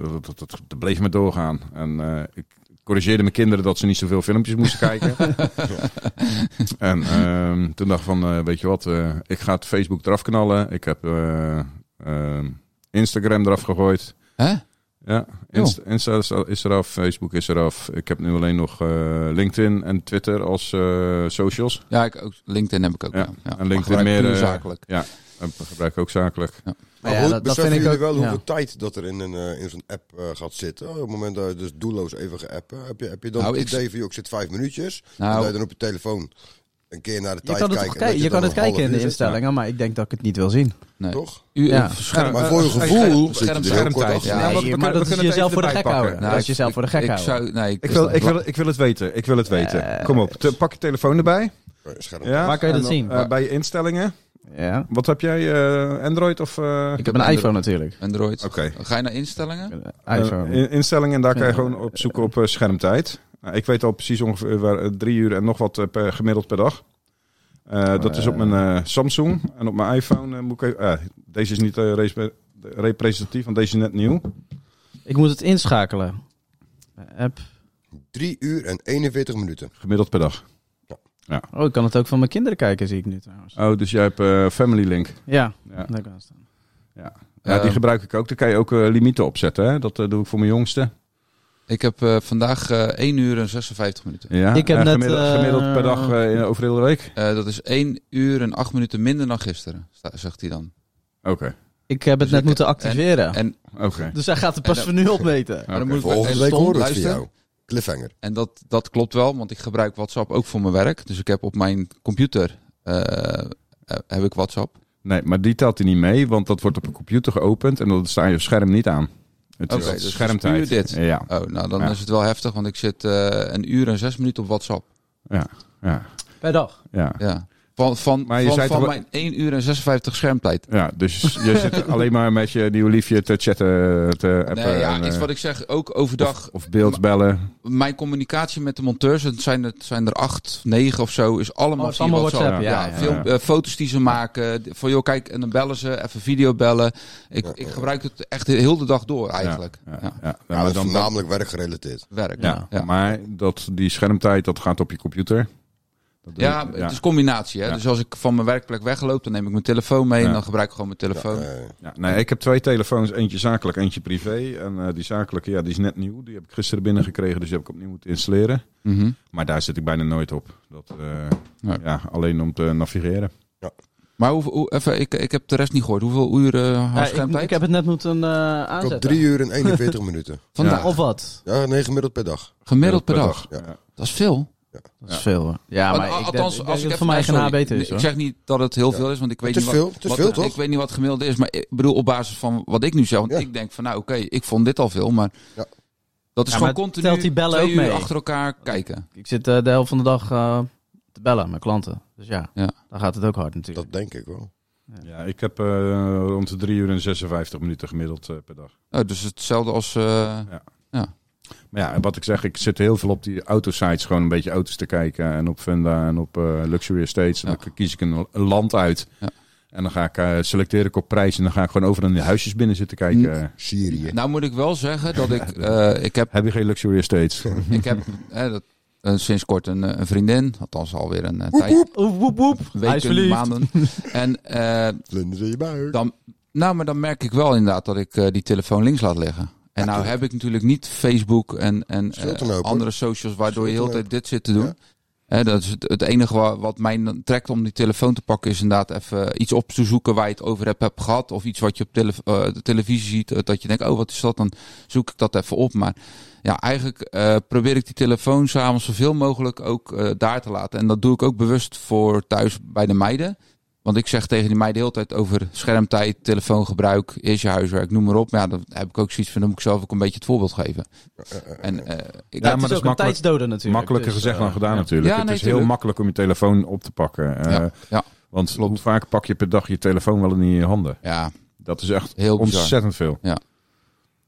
H: dat, dat, dat, dat bleef me doorgaan. En eh, ik corrigeerde mijn kinderen dat ze niet zoveel filmpjes moesten kijken. en ehm, toen dacht ik van, eh, weet je wat, eh, ik ga het Facebook eraf knallen. Ik heb eh, ehm, Instagram eraf gegooid.
B: Hè?
H: Ja, Insta, Insta is er- is eraf, Facebook is eraf. Ik heb nu alleen nog eh, LinkedIn en Twitter als eh, socials.
B: Ja, ik ook, LinkedIn heb ik ook.
H: Ja,
B: Ja.
H: en
B: Maar
H: LinkedIn
B: gebruik
H: meer,
B: puur
H: eh,
B: zakelijk.
H: En gebruik ik ook zakelijk.
A: Maar goed,
D: Ja, dat- dat
A: beseffen
D: vind ik
A: jullie
D: ook-
A: wel
D: ja.
A: hoeveel tijd dat er in, een, eh, in zo'n app eh, gaat zitten? Op het moment dat je dus doelloos even gaat appen, heb je, heb je dan
B: Nou,
A: het
B: ik-
A: idee van, joh, ik zit vijf minuutjes. en dat je
B: Nou,
A: dan op je telefoon een keer naar de
D: je
A: tijd
D: kan het
A: kijkt.
D: toch
A: en dat
D: kijken, je
A: dan
D: kan het
A: een half
D: kijken in de
A: uur zit,
D: instellingen, maar ik denk dat ik het niet wil zien.
B: nee.
A: Toch?
B: U,
D: Ja.
B: eh, scherm-
A: maar voor je gevoel zit je er heel
H: schermtijd.
A: kort achter.
B: Ja,
D: Nee,
B: maar
H: we kunnen-
D: maar
H: we
D: dat is
H: kunnen het
D: jezelf
H: even
D: voor de gek
H: erbij pakken.
D: houden. Dat is
B: Nou, ik-
D: jezelf voor de gek
B: ik
D: houden.
B: zou, nee,
H: Ik wil, ik, wil, ik wil het weten. Ik wil het weten. Kom op, te- pak je telefoon erbij.
A: Eh, scherm.
H: Eh, Ja.
D: Waar kan je
H: En
D: dat
H: dan,
D: zien?
H: eh, bij je instellingen.
D: Ja.
H: Wat heb jij? eh, Android of... eh,
D: Ik heb een iPhone natuurlijk.
B: Android.
H: Oké.
B: Ga je naar instellingen?
H: eh,
D: iPhone.
H: in- instellingen en daar kan je
D: Ah, Ja.
H: gewoon op zoeken op eh, schermtijd. Nou, ik weet al precies ongeveer waar, eh, drie uur en nog wat eh, per, gemiddeld per dag. Eh, dat is op mijn eh, Samsung en op mijn iPhone eh, moet ik even- eh, deze is niet eh, respe- representatief, want deze is net nieuw.
D: Ik moet het inschakelen. Eh, App.
A: Drie uur en 41 minuten.
H: Gemiddeld per dag.
D: Oh, ik kan het ook van mijn kinderen kijken, zie ik nu trouwens.
H: Oh, dus jij hebt eh, Family Link.
D: Ja,
H: Ja.
D: daar kan het staan.
H: Ja, die
B: Eh,
H: gebruik ik ook. Daar kan je ook eh, limieten opzetten. Hè? Dat eh, doe ik voor mijn jongste.
B: Ik heb eh, vandaag eh 1 uur en 56 minuten.
H: Ja.
D: Ik heb
H: en
D: net,
H: gemiddeld,
D: eh,
H: gemiddeld per dag eh, in- over de hele week.
B: Eh, dat is 1 uur en 8 minuten minder dan gisteren, sta- zegt hij dan.
H: Oké.
D: Ik heb het
B: Dus
D: net
B: ik-
D: moeten activeren.
B: en-
H: Oké.
D: dus hij gaat het
B: en-
D: pas van nu opmeten.
B: Maar dan
H: Oké.
B: moet ik wel
A: Volgende
B: even
A: week
B: stom
A: horen we het voor
B: luisteren.
A: jou. Cliffhanger.
B: En dat, dat klopt wel, want ik gebruik WhatsApp ook voor mijn werk. Dus ik heb op mijn computer eh, eh, heb ik WhatsApp.
H: Nee, maar die telt hij niet mee, want dat wordt op een computer geopend en dan sta je scherm niet aan. Het
B: Oké,
H: is
B: dus
H: schermtijd.
B: het is puur dit.
H: Ja.
B: Oh, nou dan
H: Ja.
B: is het wel heftig, want ik zit eh, een uur en zes minuten op WhatsApp.
H: Ja.
D: Per dag.
H: Ja.
B: Ja. Van, van,
H: Maar je
B: van,
H: zei
B: van
H: toch-
B: mijn 1 uur en 56 schermtijd.
H: ja, dus je zit alleen maar met je nieuwe liefje te chatten, te appen.
B: Nee, ja,
H: en,
B: iets
H: eh,
B: wat ik zeg, ook
H: Of,
B: overdag.
H: of beeldbellen.
B: Mijn communicatie met de monteurs, het zijn, het zijn er acht, negen of zo, is allemaal
D: Oh, het
B: via
D: is allemaal
B: WhatsApp.
D: WhatsApp, ja, ja,
B: Film,
H: ja.
B: eh, foto's die ze maken, d- van joh, kijk, en dan bellen ze, even video bellen. Ik,
A: Ja,
B: ik
A: ja.
B: gebruik het echt heel de dag door eigenlijk.
H: Ja, ja,
B: Ja.
H: ja.
A: Ja,
H: maar
A: dat
H: dan,
A: is namelijk werkgerelateerd.
B: Werk.
H: ja,
B: Ja.
H: maar dat, die schermtijd, dat gaat op je computer. Dat doe
B: Ja,
H: ik-
B: het is combinatie. Hè?
H: Ja.
B: Dus als ik van mijn werkplek wegloop, dan neem ik mijn telefoon mee
H: Ja.
B: en dan gebruik ik gewoon mijn telefoon.
A: Eh,
H: Ja, nee, ik heb twee telefoons. Eentje zakelijk, eentje privé. En eh, die zakelijke, ja, die is net nieuw. Die heb ik gisteren binnengekregen, dus die heb ik opnieuw moeten installeren.
B: Mhm.
H: Maar daar zit ik bijna nooit op. Dat, eh,
B: Nee.
H: ja, alleen om te navigeren.
B: Maar hoe, hoe- even, ik, ik heb de rest niet gehoord. Hoeveel uren uh,
D: Ja, ik,
B: schermtijd?
D: ik heb het net moeten eh,
A: ik
D: aanzetten.
A: heb drie uur en 41 minuten.
B: Vandaag.
D: Of wat?
A: Ja, nee, gemiddeld per dag.
B: Gemiddeld per dag.
A: dag.
H: Ja.
B: Dat is veel.
D: Dat is veel hoor. Ja,
B: Al-
D: maar ik denk,
B: althans,
D: ik denk
B: als ik
D: dat het
B: even-
D: voor mij
B: nee,
D: geen
B: sorry,
D: AB is
B: Ik
D: hoor.
B: zeg niet dat het heel
A: Ja.
B: veel is, want ik weet
A: Het is
B: niet
A: veel,
B: wat,
A: het is
B: wat-
A: veel, toch?
B: Ik weet niet wat gemiddeld is, maar ik bedoel op basis van wat ik nu zeg. Want
A: Ja.
B: ik denk van nou oké, ik vond dit al veel, maar
A: Ja.
B: dat is
D: Ja,
B: gewoon
D: maar
B: continu
D: telt die bellen
B: twee
D: ook
B: uur
D: mee?
B: achter elkaar kijken.
D: Ik zit eh, de helft van de dag eh, te bellen met klanten. Dus ja,
B: Ja.
D: dan gaat het ook hard natuurlijk.
A: Dat denk ik wel.
H: Ja, ik heb eh, rond de 3 uur en 56 minuten gemiddeld eh, per dag.
B: Oh, dus hetzelfde als... eh,
H: Maar ja, wat ik zeg, ik zit heel veel op die autosites. Gewoon een beetje auto's te kijken. En op Funda en op eh, Luxury Estates. En
B: Ja.
H: dan kies ik een, een land uit.
B: Ja.
H: En dan ga ik, eh, selecteer ik op prijs. En dan ga ik gewoon overal in de huisjes binnen zitten kijken.
A: Syrië.
B: nou moet ik wel zeggen dat ik... eh, ik heb
H: Heb je geen Luxury Estates?
B: Ik heb hè, dat, eh, sinds kort een, eh, een vriendin, althans alweer een eh, tijd,
D: Oep, woep, woep. Hij is
B: weken,
D: verliefd.
B: maanden. En eh,
A: Vlinders in je buik.
B: dan, nou, maar dan merk ik wel inderdaad dat ik eh, die telefoon links laat liggen. En nou heb ik natuurlijk niet Facebook en, en
A: Stil te
B: eh,
A: lopen,
B: andere socials waardoor je heel de
A: Stil te
B: tijd dit zit te doen.
A: Ja.
B: Hè, dat is het, het enige wa- wat mij dan trekt om die telefoon te pakken is inderdaad even iets op te zoeken waar je het over hebt, hebt gehad. Of iets wat je op tele- eh, de televisie ziet, eh, dat je denkt, oh wat is dat? Dan zoek ik dat even op. Maar ja, eigenlijk eh, probeer ik die telefoon s'avonds zoveel mogelijk ook eh, daar te laten. En dat doe ik ook bewust voor thuis bij de meiden. Want ik zeg tegen die meiden de hele tijd over schermtijd, telefoongebruik, is je huiswerk, noem maar op. Maar ja, dan heb ik ook zoiets van, dan moet ik zelf ook een beetje het voorbeeld geven. En, eh, ik,
H: Ja,
B: ja,
D: maar
H: maar
D: dat is
H: dat is
D: ook een
H: makkelijk-
D: tijdsdoder natuurlijk.
H: Makkelijker
D: dus,
H: gezegd
D: eh,
H: dan gedaan
D: ja.
H: natuurlijk.
B: Ja,
H: het
B: nee,
H: is heel
B: tuurlijk.
H: makkelijk om je telefoon op te pakken. eh,
B: Ja, ja,
H: want
B: klopt.
H: hoe vaak pak je per dag je telefoon wel in je handen? Dat is echt
B: heel bizar.
H: ontzettend veel.
B: Ja.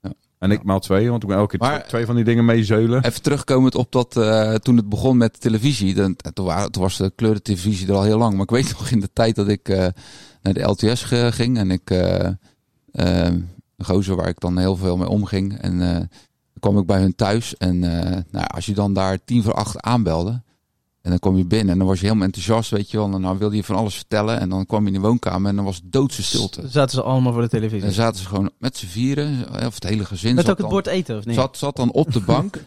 B: Ja.
H: En ik maal twee, want ik ben elke keer
B: Maar-
H: tw- twee van die dingen mee zeulen.
B: Even terugkomend op dat eh, toen het begon met televisie. Dan, eh, toen, wa- toen was de kleurentelevisie er al heel lang. Maar ik weet nog in de tijd dat ik eh, naar de LTS ge- ging. En ik, eh, eh, een gozer waar ik dan heel veel mee omging. En eh, dan kwam ik bij hun thuis. En eh, nou, als je dan daar tien voor acht aanbelde. En dan kwam je binnen en dan was je helemaal enthousiast, weet je wel. En dan wilde je van alles vertellen. En dan kwam je in de woonkamer en dan was het doodse stilte.
D: Dan Dus Zaten ze allemaal voor de
B: En
D: televisie.
B: dan zaten ze gewoon met z'n vieren, of het hele gezin.
D: Met
B: zat
D: ook het
B: dan-
D: bord eten, of niet?
B: Zat, zat dan op de bank.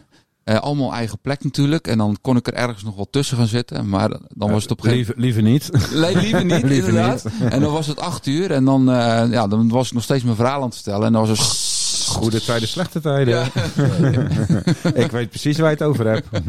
B: Eh, allemaal eigen plek natuurlijk. En dan kon ik er ergens nog wel tussen gaan zitten. Maar dan was het op een gegeven
H: Liever, liever niet.
B: moment... Liever niet,
H: Liever
B: inderdaad. En dan was het acht uur. En dan, eh, ja, dan was ik nog steeds mijn verhaal aan het vertellen. En dan was het...
H: Goede tijden, slechte tijden.
B: Ja.
H: ik weet precies waar je het over hebt. op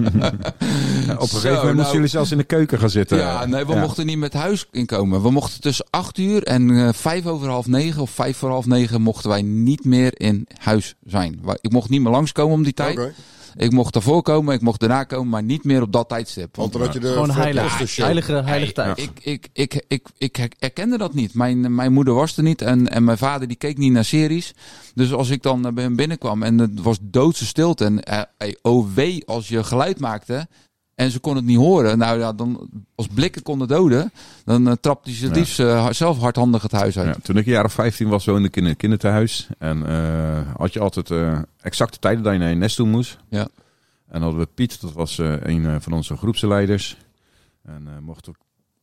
H: een gegeven moment
B: Zo,
H: moesten
B: nou.
H: jullie zelfs in de keuken gaan zitten.
B: Ja, nee, we
H: Ja.
B: mochten niet met huis inkomen. We mochten tussen acht uur en eh, vijf over half negen of vijf voor half negen mochten wij niet meer in huis zijn. Wa- Ik mocht niet meer langskomen om die tijd.
A: Oké.
B: Ik mocht daarvoor komen, ik mocht daarna komen, maar niet meer op dat tijdstip.
A: Want dan had je de
D: Gewoon heilig.
B: dus,
A: verkoste show.
D: Heilige, heilige
B: Nee,
D: tijd.
B: Ik, ik, ik, ik, ik her- herkende dat niet. Mijn, mijn moeder was er niet en, en mijn vader die keek niet naar series. Dus als ik dan eh, bij hem binnenkwam en het was doodse stilte. En eh, eh, oh wee als je geluid maakte en ze kon het niet horen. Nou ja, dan, als blikken konden doden, dan eh, trapte ze het
H: Ja.
B: liefst eh, ha- zelf hardhandig het huis uit.
H: Ja, toen ik een jaar of 15 was, woonde ik in een kinderthuis. En eh, had je altijd eh, exacte tijden dat je naar je nest toe moest.
B: Ja.
H: En hadden we Piet, dat was eh, een eh, van onze groepsleiders. En eh, mocht ook...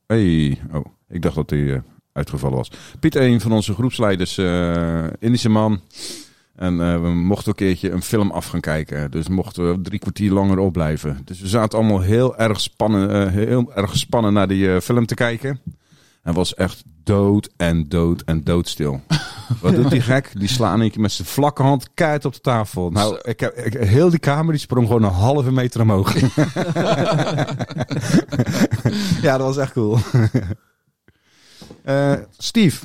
H: Hey. Oh, ik dacht dat hij eh, uitgevallen was. Piet, een van onze groepsleiders, eh, Indische man. En eh, we mochten een keertje een film af gaan kijken. Dus mochten we drie kwartier langer opblijven. Dus we zaten allemaal heel erg spannen, eh, heel erg gespannen naar die eh, film te kijken. En was echt dood en dood en doodstil. Wat doet die gek? Die slaan een keer met zijn vlakke hand keihard op de tafel. Nou, ik heb, ik, heel die kamer die sprong gewoon een halve meter omhoog. ja, dat was echt cool. Eh, Steve.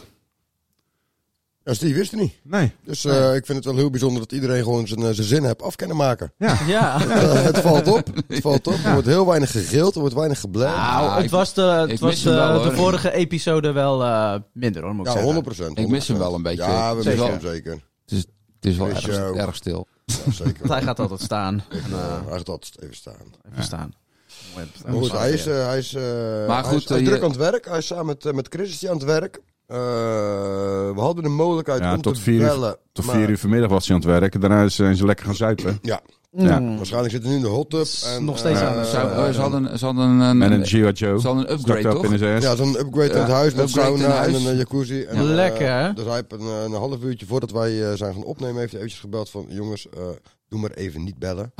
A: Ja, Steve wist het niet.
H: Nee.
A: Dus eh, ik vind het wel heel bijzonder dat iedereen gewoon zijn, eh, zijn zin heeft af kunnen maken.
D: Ja.
A: Eh, het valt op. Het valt op. Er wordt heel weinig gegild. Er wordt weinig gebleven.
B: Ah,
D: Nou,
B: ik-
D: het was de,
B: ik
D: het
B: mis
D: was,
B: hem
D: eh,
B: wel,
D: de
B: hoor.
D: vorige episode wel eh, minder hoor, moet ik
A: ja, 100%,
D: zeggen.
A: 100%.
B: Ik mis hem wel een beetje.
A: Ja, we
B: Zeker.
A: missen hem zeker.
B: Het is wel
A: Is
B: erg,
A: jou-
B: erg stil.
A: Ja, zeker.
D: Want hij gaat altijd staan. En,
A: Ik,
D: eh,
A: eh, hij gaat altijd even staan.
D: even staan. Mooi even staan.
A: Maar goed, hij is, eh, hij is, eh, hij
B: goed,
A: is, hij is
B: eh,
A: druk
B: je-
A: aan het werk. Hij is samen met, eh, met Christus aan het werk. Eh, we hadden de mogelijkheid
H: Ja,
A: om
H: tot
A: te
H: vier uur-
A: bellen.
H: Tot
A: maar-
H: vier uur vanmiddag was hij aan het werken. Daarna zijn ze lekker gaan zuipen.
A: eh, Ja,
H: Ja.
D: Mm.
A: waarschijnlijk zit hij nu in de hot tub.
D: Is
A: En,
D: nog steeds
A: eh,
D: aan het
B: Ze
D: Zou-
B: hadden- ze hadden, ze hadden een,
H: En
B: een,
H: een G.I.
B: ze
H: Joe.
B: hadden een upgrade,
H: Upgrade
B: toch?
H: op in zijn
A: Ja,
H: ass.
A: zo'n upgrade
B: Ja,
A: aan het huis met
B: upgrade in
A: sauna en
B: huis.
A: een eh, jacuzzi. En,
D: Ja.
A: eh,
D: Lekker, hè?
A: Dus hij heeft een, eh, een half uurtje voordat wij eh, zijn gaan opnemen, heeft hij eventjes gebeld van... Jongens, eh, doe maar even niet bellen.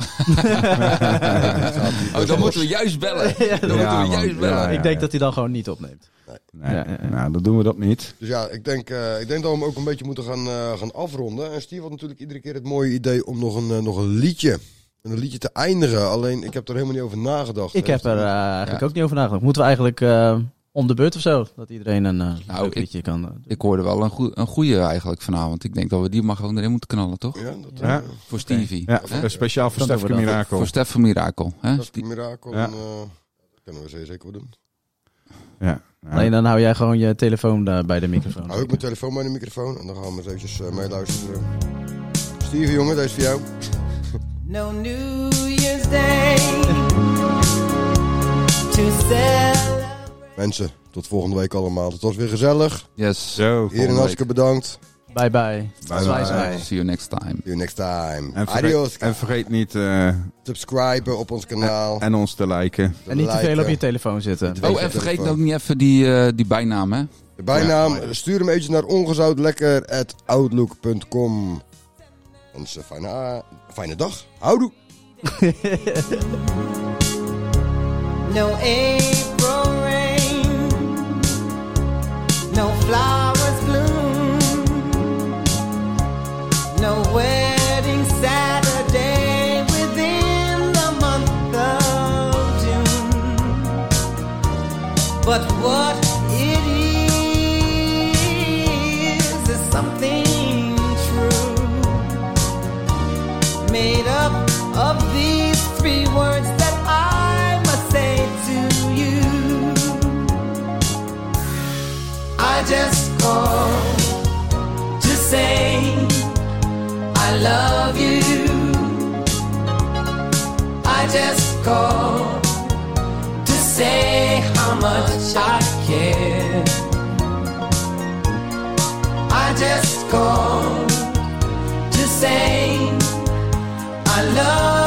B: Oh, dan moeten we juist bellen.
D: Ja,
B: Dan moeten we
H: man.
B: juist bellen.
H: Ja, ja,
D: Ik denk
H: ja.
D: dat hij dan gewoon niet opneemt.
H: Nee,
D: Ja, ja, ja.
H: Nou, dan doen we dat niet.
A: Dus ja, ik denk, eh, ik denk dat we hem ook een beetje moeten gaan, eh, gaan afronden. En Steve had natuurlijk iedere keer het mooie idee om nog een, eh, nog een liedje... Een liedje te eindigen. Alleen, ik heb er helemaal niet over nagedacht.
D: Ik heb er eh, eigenlijk ook niet over nagedacht. Moeten we eigenlijk eh, om de beurt of zo? Dat iedereen een eh
B: Nou,
D: leuk
B: ik-
D: liedje kan eh, doen.
B: Ik hoorde wel een, goe- een goede eigenlijk vanavond. Ik denk dat we die maar gewoon erin moeten knallen, toch?
A: Ja, dat,
H: Ja.
A: eh,
B: Voor Stevie.
H: Ja,
B: Hè?
H: eh, speciaal voor
D: Dan doen we
H: Stefke
D: dat.
H: Mirakel.
B: Voor Stef van Mirakel. Hè?
A: dat is een mirakel.
H: Ja.
A: En, eh, dat kunnen we zeer zeker wel doen.
H: Ja. Ja.
D: Alleen dan hou jij gewoon je telefoon eh, bij de microfoon.
A: Hou Nou, ik mijn telefoon bij de microfoon en dan gaan we eens eventjes eh, meeluisteren. Steve, jongen, deze is voor jou.
I: No New Year's Day to celebrate.
A: Mensen, tot volgende week allemaal. Het was weer gezellig.
B: Yes.
H: Zo,
A: Iedereen
H: volgende week.
A: hartstikke bedankt.
D: Bye bye. Zwaai, zwaai.
B: See you next time.
A: See you next time.
H: En
A: Adios.
H: vergeet, en vergeet niet eh,
A: Subscriben op ons kanaal.
H: en ons te liken.
D: En niet te veel
A: liken.
D: op je telefoon zitten.
A: Niet te
B: Oh, en vergeet
A: telefoon.
B: ook niet even die, eh, die bijnaam, hè?
A: De bijnaam, stuur hem eventjes naar ongezoutlekker.outlook.com. Mensen, fijne, a- fijne dag. Houdoe.
I: No April rain, no flowers bloom, no wedding Saturday within the month of June. But what it is I just call to say how much I care. I just call to say I love.